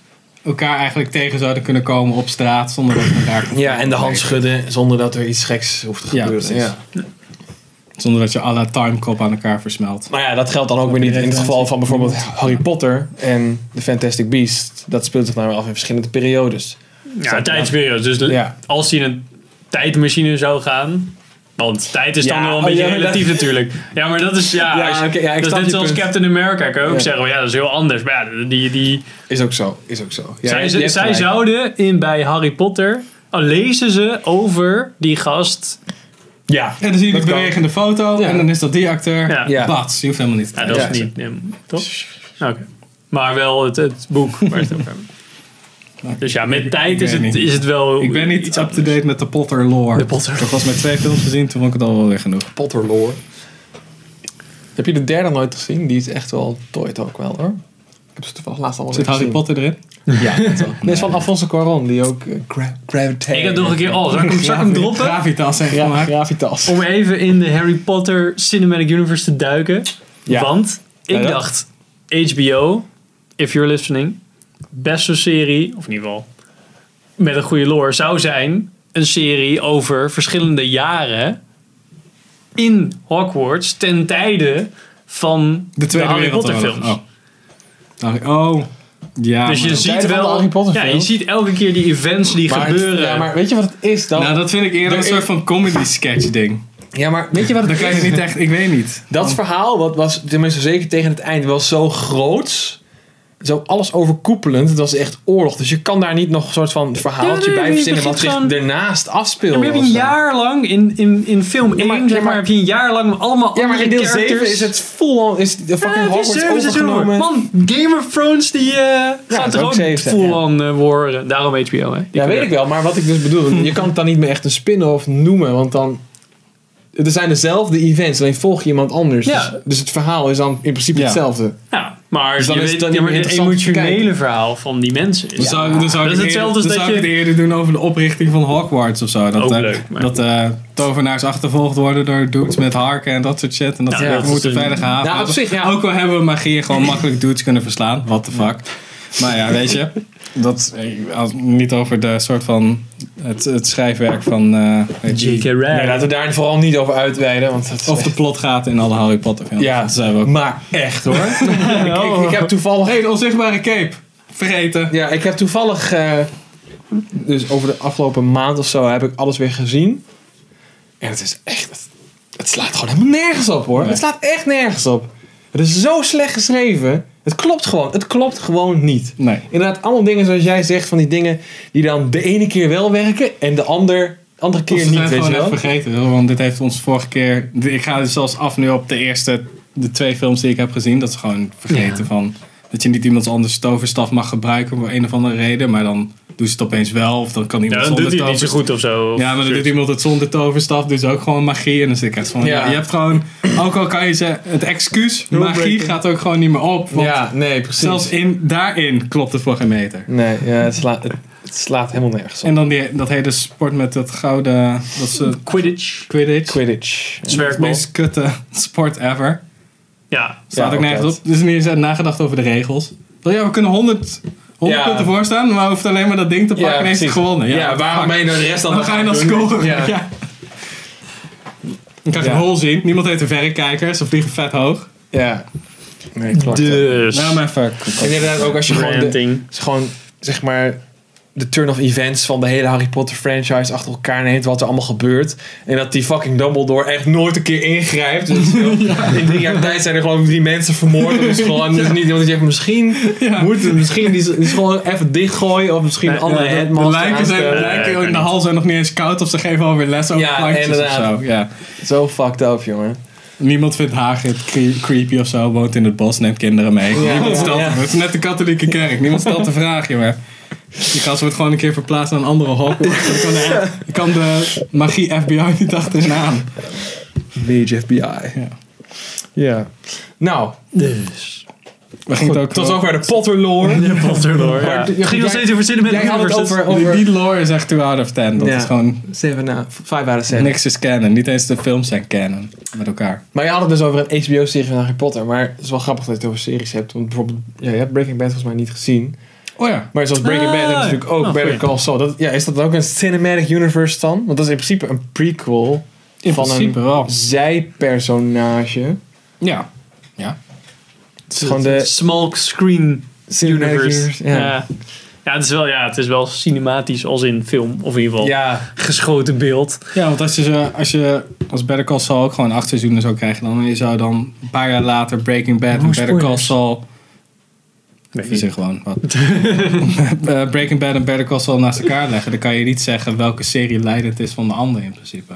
S2: elkaar eigenlijk tegen zouden kunnen komen op straat zonder dat ze elkaar
S3: Ja, en de hand schudden zonder dat er iets geks hoeft te
S2: Ja,
S3: gebeuren. Ja,
S2: precies. Zonder dat je à la timecop aan elkaar versmelt.
S3: Maar Nou ja, dat geldt dan ook weer niet in het geval van bijvoorbeeld Harry Potter en The Fantastic Beast. Dat speelt zich nou weer af in verschillende periodes.
S1: Ja, tijdsperiode. Dus
S3: Ja.
S1: als hij in een tijdmachine zou gaan, Want tijd is dan
S3: Ja,
S1: wel een
S3: oh,
S1: beetje
S3: ja, maar dat-
S1: relatief natuurlijk. Ja, maar dat is... Ja,
S3: Ja,
S1: als,
S3: oké, ja, ik
S1: dat
S3: snap
S1: is net
S3: je
S1: zoals
S3: punt.
S1: Captain America. Kan je ook
S3: Ja.
S1: zeggen, ja, dat is heel anders. Maar ja, die, die,
S3: Is ook zo, is ook zo. Ja,
S1: zij
S3: je- je hebt
S1: zij
S3: gelijk.
S1: zouden in, bij Harry Potter... al lezen ze over die gast...
S3: Ja,
S2: En dan zie je die
S3: Dat kan.
S2: bewegende foto
S3: Ja.
S2: en dan is dat die acteur.
S1: Ja.
S3: Ja.
S2: Bats, je hoeft helemaal niet te
S1: Ja, dat
S3: Ja,
S1: is
S3: zo.
S1: niet... ja, toch? Nou, Oké. Maar wel het, het boek waar het over hebben. Dus ja, met tijd is
S2: weet
S1: het,
S2: niet.
S1: is het wel
S2: Ik ben niet
S1: iets
S2: up-to-date met de Potter lore.
S1: De Potter.
S2: Ik heb pas met twee films gezien, toen vond ik het al wel weer genoeg.
S3: Potter lore. Heb je de derde nooit gezien? Die is echt wel tooit ook wel hoor. Ik heb ze toevallig laatst allemaal
S2: Zit
S3: weer
S2: Harry
S3: gezien.
S2: Potter erin?
S3: Ja, dat wel. Nee, is van Alfonso Cuarón, die ook eh, gra Gravitas.
S1: Ik heb nog een keer... Oh, zal ik hem, zal ik hem droppen?
S2: Gravitas en
S3: Ja,
S2: gemaakt.
S3: Gravitas.
S1: om even in de Harry Potter Cinematic Universe te duiken.
S3: Ja.
S1: Want ik
S2: Ja, ja.
S1: dacht, HBO, if you're listening, beste serie, of in ieder geval met een goede lore, zou zijn een serie over verschillende jaren in Hogwarts ten tijde van
S2: De Tweede
S1: Harry Potter
S2: Wereldoorlog.
S1: films.
S2: Oh. Harry- Oh.
S3: ah,
S2: Ja,
S1: Dus je
S2: maar-
S1: ziet
S3: tijde van de
S1: wel,
S3: Harry Potter
S1: ja, je
S3: films.
S1: ziet elke keer die events die
S3: Maar-
S1: gebeuren.
S3: Ja, maar weet je wat het is dan?
S2: Nou, dat vind ik eerder een
S3: Er-
S2: soort van comedy sketch ding.
S3: ja, maar weet je wat
S2: Dan
S3: het
S2: krijg
S3: is?
S2: je niet echt, ik weet niet.
S3: Dat verhaal wat was, tenminste zeker tegen het eind, wel zo groots. Zo alles overkoepelend. Het was echt oorlog. Dus je kan daar niet nog een soort van verhaaltje
S1: Ja, nee,
S3: bij
S1: je
S3: verzinnen wat
S1: begint
S3: zich
S1: gewoon-
S3: daarnaast afspeelt.
S1: Ja, maar heb je
S3: of
S1: een
S3: zo.
S1: jaar lang in, in, in film 1,
S3: maar- ja,
S1: zeg maar,
S3: maar-
S1: heb je een jaar lang allemaal
S3: Ja, maar
S1: andere
S3: in deel
S1: characters.
S3: 7 is het full on, is de
S1: Ja,
S3: fucking
S1: Eh, het is
S3: Hogwarts
S1: zeven seizoenen,
S3: overgenomen.
S1: Man, Game of Thrones die eh, gaat
S3: is
S1: er
S3: ook
S1: ook
S3: zeven, ja.
S1: full on eh, worden. Daarom HBO, hè? Die
S3: ja, weet
S1: kunnen-
S3: ik wel. Maar wat ik dus bedoel, je kan het dan niet meer echt een spin-off noemen, want dan... Er zijn dezelfde events, alleen volg je iemand anders.
S1: Ja.
S3: Dus, dus het verhaal is dan in principe
S2: Ja.
S3: hetzelfde.
S1: Ja, maar
S3: Dus dan
S1: je
S3: is
S1: weet,
S3: het
S1: ja, maar het
S3: interessant om te
S1: emotionele
S3: kijken.
S1: verhaal van die mensen is.
S2: Dan zou, dan zou
S1: Dat
S2: ik
S1: is
S2: het
S1: hetzelfde als
S2: eerder, dan
S1: dat
S2: zou
S1: je-
S2: ik het eerder doen over de oprichting van Hogwarts of zo. Dat,
S1: Ook
S2: eh,
S1: leuk, maar-
S2: dat eh, tovenaars achtervolgd worden door dudes met harken en dat soort shit. En dat
S1: Ja,
S2: ze
S1: dat is
S2: moeten
S1: een-
S2: veilig haven.
S3: Nou, op zich, ja.
S2: Ook al hebben we magie gewoon makkelijk dudes kunnen verslaan. What the fuck. Maar ja, weet je. Dat, eh, als- niet over de soort van het, het schrijfwerk van... eh, weet je,
S1: J.K. Rowling.
S3: Nee, laten we daar vooral niet over uitweiden, want dat is
S2: of de plotgaten in alle Harry Potter films.
S3: Ja.
S2: Dat zijn we ook.
S3: Maar echt hoor. ik, ik, ik heb toevallig...
S2: hey, de onzichtbare cape. Vergeten.
S3: Ja, ik heb toevallig... eh, dus over de afgelopen maand of zo heb ik alles weer gezien. En het is echt... Het, het slaat gewoon helemaal nergens op hoor.
S2: Nee.
S3: Het slaat echt nergens op. Het is zo slecht geschreven. Het klopt gewoon. Het klopt gewoon niet.
S2: Nee.
S3: Inderdaad, allemaal dingen zoals jij zegt, van die dingen die dan de ene keer wel werken en de ander, andere
S2: Of
S3: keer
S2: ze zijn
S3: niet, weet
S2: gewoon
S3: je wel.
S2: net vergeten, joh, want dit heeft ons vorige keer... Ik ga dus zelfs af nu op de eerste... De twee films die ik heb gezien, dat is gewoon vergeten
S1: Ja.
S2: van... Dat je niet iemand anders toverstaf mag gebruiken voor een of andere reden. Maar dan doen ze het opeens wel. Of dan kan
S1: Ja,
S2: iemand
S1: dan
S2: zonder
S1: doet hij het niet zo
S2: toverstaf.
S1: goed of zo. of
S2: Ja, maar dan
S1: zoiets.
S2: doet iemand het zonder toverstaf. Dus ook gewoon magie. En dan zit ik echt van...
S3: Ja.
S2: Ja. Je hebt gewoon... Ook al kan je ze... Het excuus, magie
S3: Rulebreaking.
S2: gaat ook gewoon niet meer op. Want
S3: Ja, nee, precies.
S2: zelfs in, daarin klopt het voor geen meter.
S3: Nee, ja, het, slaat, het, het slaat helemaal nergens op.
S2: En dan die, dat hele sport met dat gouden... Dat ze...
S1: Quidditch.
S2: Quidditch.
S3: Quidditch.
S2: Het
S1: Zwerkbal.
S2: meest kutte sport ever.
S1: Ja.
S2: Staat
S3: Ja,
S2: ook
S3: ook
S2: nergens
S3: dat.
S2: op. Dus niet eens nagedacht over de regels. Wel, Ja, we kunnen 100, 100
S3: Ja.
S2: punten voorstaan, maar we hoeven alleen maar dat ding te pakken en heeft het
S3: precies.
S2: gewonnen. Ja,
S3: Ja, waarom ben je nou de rest dan
S2: dan ga je dan
S3: nog
S2: scoren.
S3: Ja.
S2: Ja. Dan krijg je
S3: Ja.
S2: een hol zien. Niemand heeft een verrekijker. Ze vliegen vet hoog.
S3: Ja. Nee, klopt.
S1: Dus.
S2: Nou, maar fuck.
S3: En inderdaad ook als je gewoon, de,
S1: Ranting.
S3: als je gewoon, zeg maar, de turn-off events van de hele Harry Potter franchise achter elkaar neemt, wat er allemaal gebeurt. En dat die fucking Dumbledore echt nooit een keer ingrijpt. Dus In drie jaar tijd zijn er gewoon drie mensen vermoord. Dus gewoon, dus niet iemand die zegt, misschien
S2: Ja.
S3: moet het, misschien die, die gewoon even dichtgooien. Of misschien een
S1: Nee,
S3: andere
S2: de,
S3: headmaster
S2: lijken, zijn, de
S3: aanstellen.
S1: Ja,
S2: lijken
S1: kan
S2: in de hal zijn nog niet eens koud of ze geven alweer les over
S3: Ja,
S2: plantjes
S3: inderdaad.
S2: of zo. Ja.
S3: Zo fucked up, jongen.
S2: Niemand vindt Hagrid cre- creepy of zo, woont in het bos, neemt kinderen mee.
S3: Ja.
S2: Niemand stelt,
S3: Ja.
S2: Het is net de katholieke kerk, niemand stelt de vraag, jongen. Die gast wordt gewoon een keer verplaatst naar een andere Hogwarts. Dan kan de, dan kan de magie FBI niet achteraan.
S3: Mage FBI.
S2: Ja.
S3: Ja. Nou,
S1: Dus.
S2: We gingen het ook
S3: tot zover de Potter lore.
S1: Ja, Potter hoor.
S3: Maar
S1: Ja.
S3: d-
S1: Het ging nog
S3: jij-
S1: steeds over Cinematic
S3: jij had het
S1: Universe.
S3: over-
S1: dat-
S2: Die, die lore is echt 2 out of 10. Dat
S3: Ja.
S2: is gewoon
S3: 7 na, 5 out of 7.
S2: niks is canon. Niet eens de films zijn canon met elkaar.
S3: Maar je had het dus over een HBO-serie van Harry Potter. Maar het is wel grappig dat je het over series hebt. Want bijvoorbeeld, ja, je hebt Breaking Bad volgens mij niet gezien.
S2: Oh ja.
S3: Maar zoals Breaking
S1: Ah,
S3: Bad heb je natuurlijk ook
S1: oh,
S3: Better
S1: goeie.
S3: Call Saul. Dat, ja, is dat ook een cinematic universe dan? Want dat is in principe een prequel
S2: In
S3: van
S2: principe
S3: een
S2: wel.
S3: zijpersonage.
S2: Ja.
S3: Het is gewoon de
S1: Small screen
S3: cinematic universe.
S1: universe.
S3: ja.
S1: Ja. Ja, het is wel, ja, het is wel cinematisch als in film. Of in ieder geval
S3: Ja,
S1: geschoten beeld.
S2: Ja, want als je, zo- als je als Better Call Saul ook gewoon acht seizoenen zou krijgen, dan je zou dan een paar jaar later Breaking Bad en
S1: Oeh,
S2: Better Call
S1: spoilers.
S2: Saul. Ik zeg gewoon wat. Eh, Breaking Bad en Better Call Saul naast elkaar leggen, dan kan je niet zeggen welke serie leidend is van de andere in principe.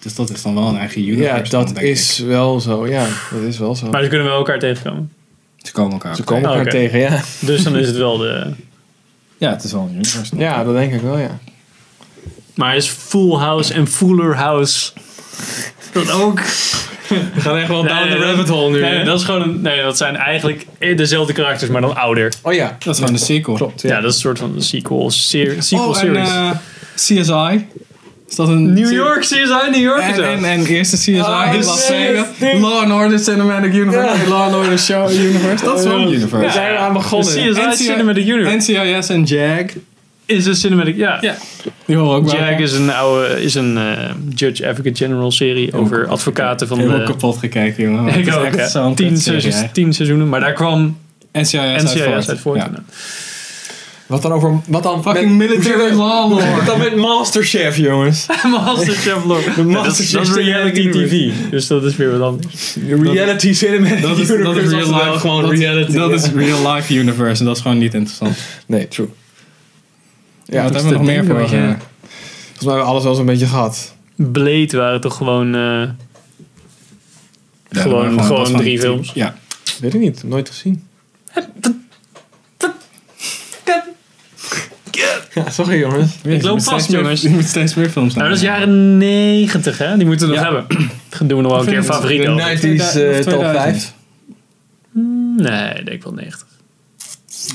S2: Dus dat is dan wel een eigen universe.
S3: ja
S2: dan,
S3: dat
S2: denk ik.
S3: is wel zo. Ja, dat is wel zo.
S1: Maar ze kunnen wel elkaar tegenkomen.
S2: Ze komen elkaar.
S3: Ze komen
S1: Oké.
S3: elkaar tegen, ja.
S1: Dus dan is het wel de...
S2: Ja, het is wel een universe.
S3: Ja, dat denk ik wel, ja.
S1: Maar is Full House en Fuller House dat ook?
S3: We gaan echt wel
S1: Nee,
S3: down the
S1: dat-
S3: rabbit hole nu.
S1: Nee,
S3: hè?
S1: dat is gewoon een, nee, dat zijn eigenlijk dezelfde karakters, maar dan ouder.
S3: oh ja,
S2: Dat is gewoon de sequel.
S3: klopt.
S1: Ja,
S3: Ja.
S1: dat is een soort van een sequel, ser- sequel
S2: oh, en
S1: series.
S2: eh, CSI. Is dat een
S1: New York, CSI New York is
S2: En,
S1: dat.
S2: en, en eerste CSI,
S3: Oh,
S2: Las
S3: shit.
S2: Vegas, Law and Order Cinematic Universe,
S3: Ja.
S2: Law and Order Show Universe. Dat is wel een universe.
S3: Daar zijn we aan begonnen.
S1: De CSI
S2: NCIS
S1: Cinematic Universe
S2: NCIS en JAG.
S1: is een cinematic, ja.
S2: Ja. Die horen ook wel.
S1: Jack is een oude, is een eh, Judge Advocate General serie over advocaten van
S2: Helemaal
S1: de...
S2: kapot gekeken, jongen. want
S1: Ik
S2: het is
S1: ook,
S2: echt
S1: ja.
S2: zo'n
S1: tien,
S2: kutserie
S1: seizoen,
S2: eigenlijk.
S1: tien seizoenen, maar daar kwam
S2: NCIS,
S1: NCIS uit voort.
S2: Ja.
S1: inderdaad.
S3: Wat dan over... Wat dan
S2: Fucking military law
S3: Wat
S2: lore.
S3: dan met Masterchef, jongens?
S1: Masterchef Lord. Ja, dat, is-
S3: Masterchef
S1: dat is reality
S3: Cinematic
S1: TV. Dus dat is weer wat anders.
S3: Reality Cinematic
S2: Dat is, dat is
S3: Universe,
S2: real
S3: oftewel
S2: life.
S3: gewoon
S2: dat,
S3: reality.
S2: dat
S3: ja.
S2: is real life universe en dat is gewoon niet interessant.
S3: Nee, true.
S2: Ja, wat
S3: dat
S2: hebben we nog
S3: is
S2: meer
S3: het
S2: voor?
S3: ding,
S2: eh,
S3: weet je. Volgens mij hebben we alles wel eens een beetje gehad.
S1: Blade waren toch gewoon... eh,
S2: ja,
S1: Gewoon-
S2: maar
S1: gewoon
S2: dat is
S1: drie
S2: die-
S1: films.
S2: Ja.
S3: Weet ik niet, nooit gezien. Ja, sorry jongens.
S1: Ik loop vast, jongens.
S2: Je moet steeds meer films
S1: Nou, dat is
S2: maken.
S1: jaren 90, hè? Die moeten we nog
S2: Ja.
S1: hebben. Dan doen we nog wel een keer
S2: Vind je het
S1: favoriet over.
S3: de 90s eh, top 5.
S1: Nee, ik denk wel 90.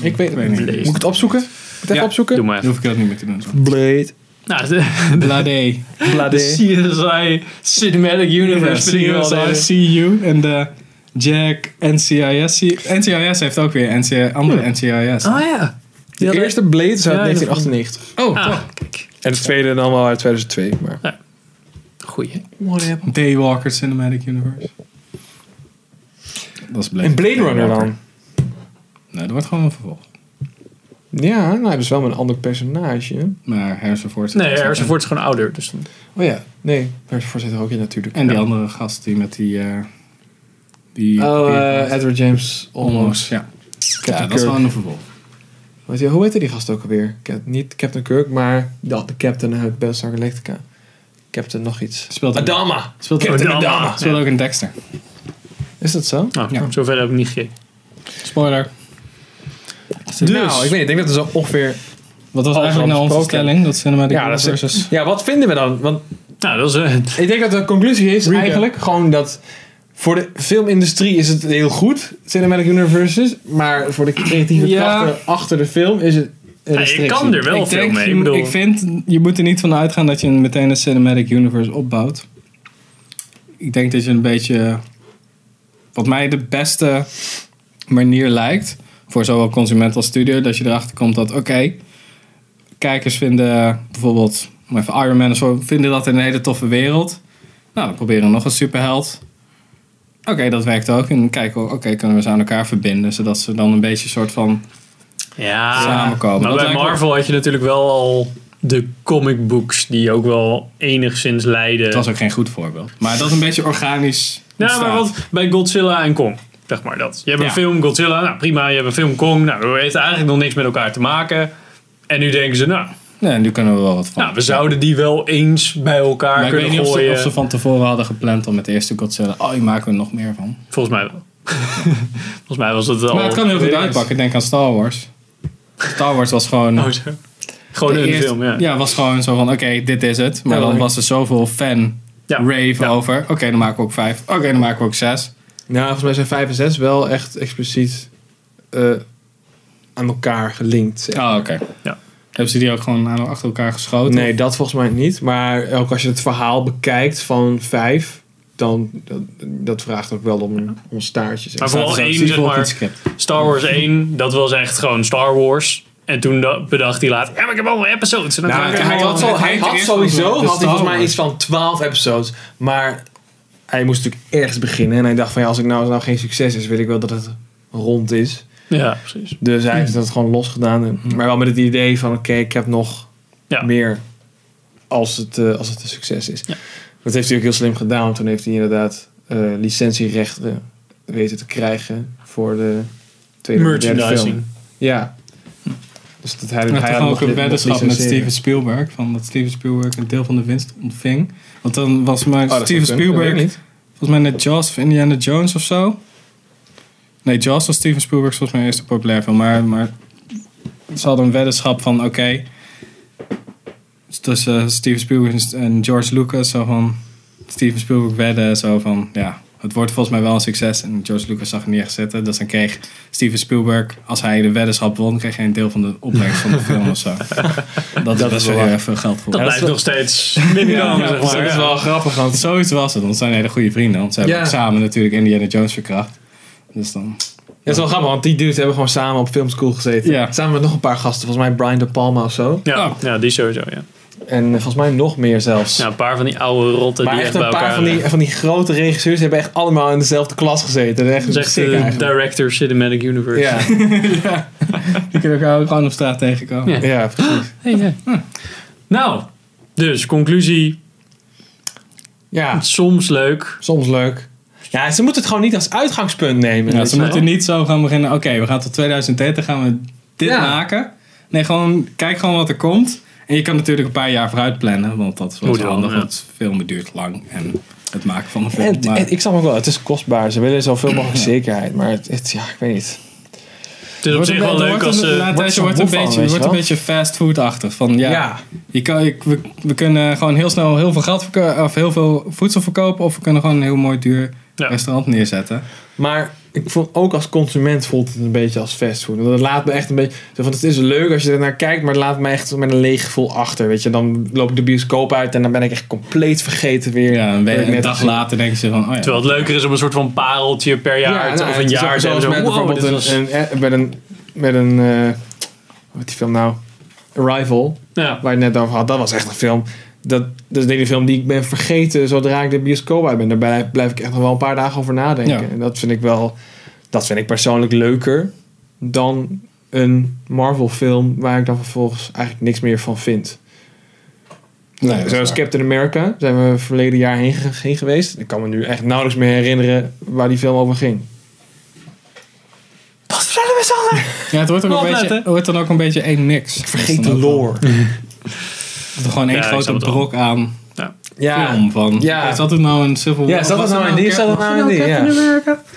S3: Ik weet
S2: Ik
S3: het
S2: weet
S3: niet.
S2: niet.
S1: Blade.
S3: Moet ik het opzoeken? Moet ik het even
S2: Ja,
S3: opzoeken?
S1: Doe maar
S2: Dan
S1: even.
S2: hoef ik dat niet meer te doen. zo.
S3: Blade.
S1: Nou, de,
S2: Blade.
S1: de
S3: Blade.
S1: CSI Cinematic Universe vind ik wel
S2: CSI,
S1: leuk.
S2: CU en de Jack NCIS. NCIS heeft ook weer NCI, andere NCIS.
S1: Oh ja. Die
S3: De
S1: hadden-
S3: eerste Blade is uit
S1: Ja,
S3: 1998.
S2: Oh,
S1: Ah, kijk.
S3: En de tweede dan wel uit 2002. Maar...
S1: Goeie.
S2: Daywalker Cinematic Universe. Dat is Blade.
S3: En Blade Runner
S2: Daywalker.
S3: dan?
S2: Nee, dat wordt gewoon een vervolg.
S3: Ja, nou hebben ze wel met een ander personage.
S2: Maar Harrison Ford. zit er
S1: Nee,
S2: ook
S1: Harrison
S2: in.
S1: Ford is gewoon ouder. Dus dan...
S3: Oh ja, nee. Harrison Ford zit er ook in natuurlijk.
S2: En die andere gast die met die... eh, die
S3: Oh,
S2: die-
S3: eh, Edward James Olmos.
S2: Almost, ja.
S3: Captain
S2: Ja, dat is
S3: Kirk.
S2: gewoon een vervolg.
S3: Weet je, hoe heette die gast ook alweer? Cap- niet Captain Kirk, maar de, de Captain uit Battlestar Galactica. Captain nog iets.
S2: Speelt ook,
S3: Adama!
S2: speelt ook,
S3: Captain
S1: Adama.
S3: Adama.
S2: speelt ook in Dexter.
S3: Is dat zo?
S1: Ah, Oh,
S2: Ja.
S1: Zover heb ik niet gekeken.
S2: Spoiler.
S3: Dus. Nou, ik weet niet. Ik denk dat we zo ongeveer...
S2: Wat was
S3: Alles
S2: eigenlijk nou onze
S3: besproken.
S2: stelling? Dat Cinematic
S3: Ja, dat is-
S2: Universe is...
S3: Ja, wat vinden we dan? Want
S1: Nou, dat is... eh,
S3: Ik denk dat de conclusie is
S2: Recap.
S3: eigenlijk gewoon dat voor de filmindustrie is het heel goed, Cinematic Universes, maar voor de creatieve
S2: Ja.
S3: krachten achter de film is het een
S1: nou, je
S3: restrictie.
S1: kan er wel
S2: ik
S1: veel
S2: denk,
S1: mee.
S2: je-
S1: Ik bedoel,
S2: ik vind, je moet er niet van uitgaan dat je een- meteen een cinematic universe opbouwt. Ik denk dat je een beetje, wat mij de beste manier lijkt, voor zowel consument als studio, dat je erachter komt dat, oké, kijkers vinden bijvoorbeeld, om even Iron Man of zo, vinden dat een hele toffe wereld. Nou, dan proberen we nog een superheld. Oké, dat werkt ook. En dan kijken we, oké, kunnen we ze aan elkaar verbinden, zodat ze dan een beetje een soort van
S1: ja,
S2: samenkomen.
S1: maar
S2: Dat
S1: bij
S2: lijkt me-
S1: Marvel had je natuurlijk wel al de comic books die ook wel enigszins leiden.
S2: Het was ook geen goed voorbeeld. Maar dat is een beetje organisch.
S1: Nou,
S2: ontstaat.
S1: maar wat bij Godzilla en Kong. Zeg maar dat. Je hebt
S2: Ja.
S1: een film Godzilla, nou prima. Je hebt een film Kong, nou dat heeft eigenlijk nog niks met elkaar te maken. En nu denken ze, nou,
S2: Nee, nu kunnen we wel wat van.
S1: nou we zouden die wel eens bij elkaar
S2: maar ik weet
S1: kunnen
S2: niet of ze,
S1: gooien.
S2: of ze van tevoren hadden gepland om met de eerste Godzilla. Oh, hier maken we nog meer van.
S1: Volgens mij wel. Volgens mij was dat al.
S2: maar het kan heel goed
S3: weet ik.
S2: uitpakken. Denk aan Star Wars. Star Wars was gewoon.
S1: Oh, zo. Gewoon
S2: de
S1: een
S2: eerste-
S1: film, ja.
S2: was gewoon zo van: oké, dit is het. Maar
S3: Ja,
S2: dan
S3: maar-
S2: was er zoveel fan
S1: Ja.
S2: rave
S1: Ja.
S2: over. Oké, dan maken we ook vijf. Oké, dan maken we ook zes.
S3: Nou, volgens mij zijn 5 en 6 wel echt expliciet eh, aan elkaar gelinkt. zeg.
S2: Oh, oké.
S1: Ja.
S2: Hebben ze die ook gewoon aan- achter elkaar geschoten?
S3: Nee, dat volgens mij niet. Maar ook als je het verhaal bekijkt van 5, dan dat, dat vraagt ook wel om een om een staartje. zeg.
S1: Maar vooral
S2: Zaten ze ook
S1: één,
S2: precies
S1: zeg
S2: volgens
S1: maar.
S2: het script?
S1: Star Wars
S3: Mhm.
S1: 1, dat was echt gewoon Star Wars. En toen da- bedacht hij later, ja, maar ik heb allemaal episodes. En dan
S3: Nou,
S1: ga ik
S2: het-
S1: er-
S3: hij,
S2: wel-
S3: had, zo-
S2: het
S3: hij
S2: heet
S3: had
S2: eerst
S3: sowieso
S2: wel de
S3: had hij
S2: Star
S3: volgens mij
S2: Wars.
S3: iets van 12 episodes. Maar hij moest natuurlijk ergens beginnen. En hij dacht van ja, als ik nou, als het nou geen succes is, weet ik wel dat het rond is.
S1: Ja, precies.
S3: Dus hij heeft dat gewoon losgedaan. En,
S2: Hmm.
S3: maar wel met het idee van, oké, ik heb nog
S1: Ja.
S3: meer als het, eh, als het een succes is.
S1: Ja.
S3: Dat heeft hij ook heel slim gedaan. want Toen heeft hij inderdaad eh, licentierechten weten te krijgen voor de tweede en derde
S1: Merchandising.
S3: film. Ja. Dus dat hij,
S2: Hij
S3: hij
S2: had
S3: had
S2: toch ook
S3: nog
S2: een
S3: dit- nog
S2: weddenschap met
S3: licenseren.
S2: Steven Spielberg. Van dat Steven Spielberg een deel van de winst ontving. Want dan was maar
S3: Oh, dat
S2: Steven
S3: zou kunnen, dat
S2: Spielberg
S3: weet ik niet.
S2: volgens mij net Jaws of Indiana Jones of zo. Nee, Jaws was Steven Spielberg's volgens mij eerste populair film. Maar, maar ze hadden een weddenschap van oké. tussen Steven Spielberg en George Lucas. Zo van Steven Spielberg wedden. Zo van ja, het wordt volgens mij wel een succes. En George Lucas zag het niet echt zitten. Dus dan kreeg Steven Spielberg, als hij de weddenschap won, kreeg hij een deel van de opbrengst van de film of zo. Dat, is best wel heel erg veel geld voor.
S1: Dat
S2: hem.
S1: blijft nog steeds minder dan,
S2: ja,
S1: zeg
S3: Dat
S1: maar.
S3: is
S1: ja.
S3: wel grappig,
S2: Want
S3: want
S2: zoiets was het, want ze zijn hele goede vrienden. Want ze hebben
S3: Ja.
S2: ook samen natuurlijk Indiana Jones verkracht. Dus dan...
S3: dat is wel grappig, want die dudes hebben gewoon samen op filmschool gezeten.
S2: Ja.
S3: Samen met nog een paar gasten, volgens mij Brian De Palma of zo.
S1: Ja, ja, die sowieso, ja.
S3: En eh, volgens mij nog meer zelfs.
S1: ja. Een paar van die oude rotten
S3: maar
S1: die
S3: echt
S1: bij
S3: een
S1: elkaar...
S3: paar van die, van die grote regisseurs hebben echt allemaal in dezelfde klas gezeten. Dat
S1: Dat
S3: is echt
S1: is echt eh,
S3: sick
S1: de
S3: eigenlijk.
S1: director Cinematic Universe.
S3: Ja,
S2: Die kunnen elkaar gewoon op straat tegenkomen.
S1: Ja.
S3: ja, precies.
S1: Hey, hey.
S3: Hm.
S1: Nou, dus conclusie.
S3: Ja,
S1: Soms leuk.
S3: soms leuk. Ja, ze moeten het gewoon niet als uitgangspunt nemen.
S2: Ja,
S3: weet
S2: ze
S3: je wel.
S2: moeten niet zo gaan beginnen, oké, we gaan tot 2030 gaan we dit
S3: Ja.
S2: maken. Nee, gewoon kijk gewoon wat er komt. En je kan natuurlijk een paar jaar vooruit plannen, want dat is wel
S1: Moet
S2: zo
S1: wel,
S2: handig.
S1: ja.
S2: Want filmen duurt lang en het maken van een film.
S3: En,
S2: maar-
S3: en ik snap ook wel, het is kostbaar. Ze willen zoveel mogelijk zekerheid. Maar het, het- ja, ik weet niet.
S1: Het is op
S2: Wordt
S1: zich
S2: een
S1: wel
S2: beetje-
S1: leuk
S2: wordt
S1: als eh,
S2: een-
S1: ze...
S2: laat
S3: wordt
S2: eens,
S3: zo'n
S2: je wordt een
S3: boef van,
S2: beetje,
S3: weet
S2: je
S3: je
S2: wordt een
S3: wel.
S2: beetje fastfood-achtig. Van ja,
S3: Ja.
S2: Je kan, ik, we, we kunnen gewoon heel snel heel veel geld verko- of heel veel voedsel verkopen. Of we kunnen gewoon een heel mooi duur
S1: Ja.
S2: restaurant neerzetten.
S3: Maar ik vond, ook als consument voelt het een beetje als fastfood. Want het laat me echt een beetje... zo Van, het is leuk als je er naar kijkt, maar het laat me echt met een leeg gevoel achter. Weet je, dan loop ik de bioscoop uit en dan ben ik echt compleet vergeten weer.
S2: Ja, een,
S3: Wat ik
S2: we- een
S3: net
S2: dag
S3: gezien-
S2: later denken ze van, oh ja.
S1: Terwijl het leuker is om een soort van pareltje per jaar te-
S3: nou,
S1: of een
S3: het is
S1: jaar
S3: ook
S1: te
S3: zoals
S1: hebben. Zo,
S3: met
S1: wow, dit
S3: bijvoorbeeld
S1: was-
S3: een, een- met een met een eh, hoe heet die film nou Arrival
S1: ja.
S3: waar je het net over had dat was echt een film dat, dat is de ene film die ik ben vergeten zodra ik de bioscoop uit ben daar blijf, blijf ik echt nog wel een paar dagen over nadenken
S2: Ja.
S3: en dat vind ik wel dat vind ik persoonlijk leuker dan een Marvel film waar ik dan vervolgens eigenlijk niks meer van vind
S2: Nee, dat is
S3: Zoals
S2: waar.
S3: Captain America zijn we verleden jaar heen, ge- heen geweest. Ik kan me nu echt nauwelijks meer herinneren waar die film over ging. Wat vertellen we Sander?
S2: Ja, het wordt, ook een
S1: Opletten.
S2: beetje, het wordt dan ook een beetje één niks. Ik
S3: Vergeet de lore.
S2: Gewoon één
S1: Ja, ik
S2: grote
S1: snap het wel.
S2: brok aan
S3: Ja.
S2: film. Van,
S3: Ja.
S2: Is dat het nou een Civil War?
S3: Ja, zat dat
S2: Was
S3: nou in die? Zat dat nou in die? Ja.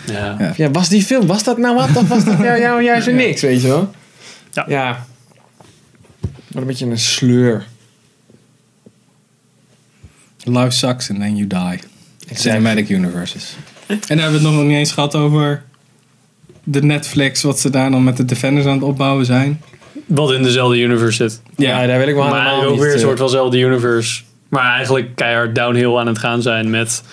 S1: Ja.
S2: Ja.
S3: ja, was die film, was dat nou wat? Of was dat jou, jou juist weer niks, weet je wel?
S1: Ja.
S3: ja. Wat een beetje een sleur.
S2: Life sucks and then you die. Cinematic universes. En daar hebben we het nog niet eens gehad over de Netflix, wat ze daar dan met de Defenders aan het opbouwen zijn.
S1: Wat in dezelfde universe zit.
S3: Ja, daar wil ik wel
S1: maar
S3: helemaal
S1: eigenlijk ook
S3: niet,
S1: weer een
S3: eh,
S1: soort vanzelfde universe. Maar eigenlijk keihard downhill aan het gaan zijn met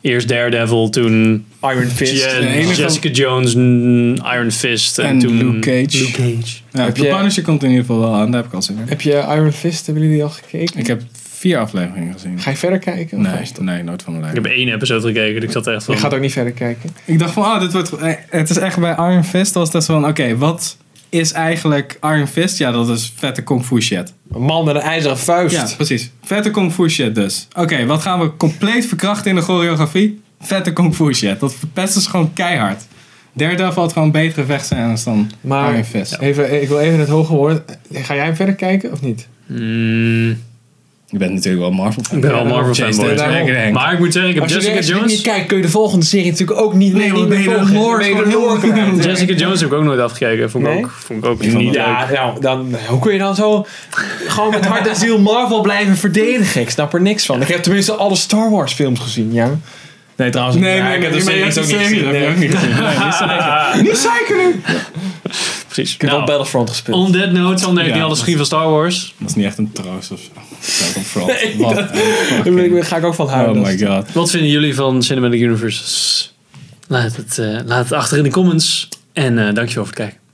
S1: eerst Daredevil, toen
S3: Iron Fist.
S1: Je-
S2: De enige-
S1: Jessica Jones, mm, Iron Fist en,
S2: En
S1: toen
S2: Luke Cage.
S1: Luke Cage.
S2: Ja,
S3: Heb
S2: de
S3: je-
S2: Punisher komt in ieder geval wel aan, daar heb ik al zin in.
S3: Heb je Iron Fist, hebben jullie die al gekeken?
S2: Ik heb vier afleveringen gezien.
S3: Ga je verder kijken? Of ga
S2: Nee,
S3: je stoppen?
S2: nee, nooit van mijn
S1: Ik
S2: leven.
S1: heb één episode gekeken, dus ik zat echt van...
S3: Je gaat ook niet verder kijken.
S2: Ik dacht van, oh, dit wordt, eh, het is echt bij Iron Fist was dat zo van, oké, wat is eigenlijk Iron Fist? Ja, dat is vette kung fu shit.
S3: Een man met een ijzeren vuist.
S2: Ja, precies. Vette kung fu shit dus. Oké, wat gaan we compleet verkrachten in de choreografie? Vette kung fu shit. Dat verpesten ze gewoon keihard. Daredevil had gewoon betere vechtscènes dan
S3: Maar
S2: Iron Fist.
S3: even, ik wil even het hoge woord. Ga jij hem verder kijken of niet?
S1: Mm,
S2: Je bent natuurlijk wel Marvel fan.
S1: ik ben wel
S3: Ja,
S1: Marvel
S2: Jason
S1: fanboy.
S3: Statham.
S1: zeker, Henk. Maar ik moet zeggen, ik heb
S3: Als je
S1: Jessica
S3: de eerste
S1: Jones...
S3: niet kijkt, kun je de volgende serie natuurlijk ook niet
S2: Nee, want
S3: niet
S2: ben je de
S3: volgen.
S2: lore
S3: Ben je
S2: gewoon
S3: lore
S2: heel
S3: kwijt.
S2: erg.
S1: Jessica Jones heb ik ook nooit afgekeken. Vond ik
S3: Nee?
S1: ook, vond ik ook
S2: Ik vond
S1: niet leuk.
S3: Ja, nou, dan, hoe kun je dan zo gewoon met hart en ziel Marvel blijven verdedigen? Ik snap er niks van. Ik heb tenminste alle Star Wars films gezien, ja. Nee, trouwens.
S2: Nee,
S3: ja,
S2: nee,
S3: ik
S2: nee,
S3: heb
S2: nee,
S3: de
S2: maar je
S3: series
S2: hebt
S3: ook
S2: die
S3: niet
S2: serie,
S3: gezien.
S2: dat
S3: Nee.
S2: heb je ook niet gezien. Nee, niet zeker.
S3: Niet zeiken nu!
S1: Precies.
S3: Ik heb wel
S1: Nou,
S3: Battlefront gespeeld.
S1: on that note, Sander heeft
S2: Ja.
S1: niet alles geschreven van Star Wars.
S2: Dat is niet echt een troost of zo. Dragon Frog.
S3: Nee,
S2: Wat
S3: dat-
S2: een
S3: Daar ben ik-
S2: fucking-
S3: daar ga ik ook van
S2: Oh
S3: houden.
S2: my god.
S1: Wat vinden jullie van Cinematic Universes? Laat het, eh, laat het achter in de comments. En eh, dankjewel voor het kijken.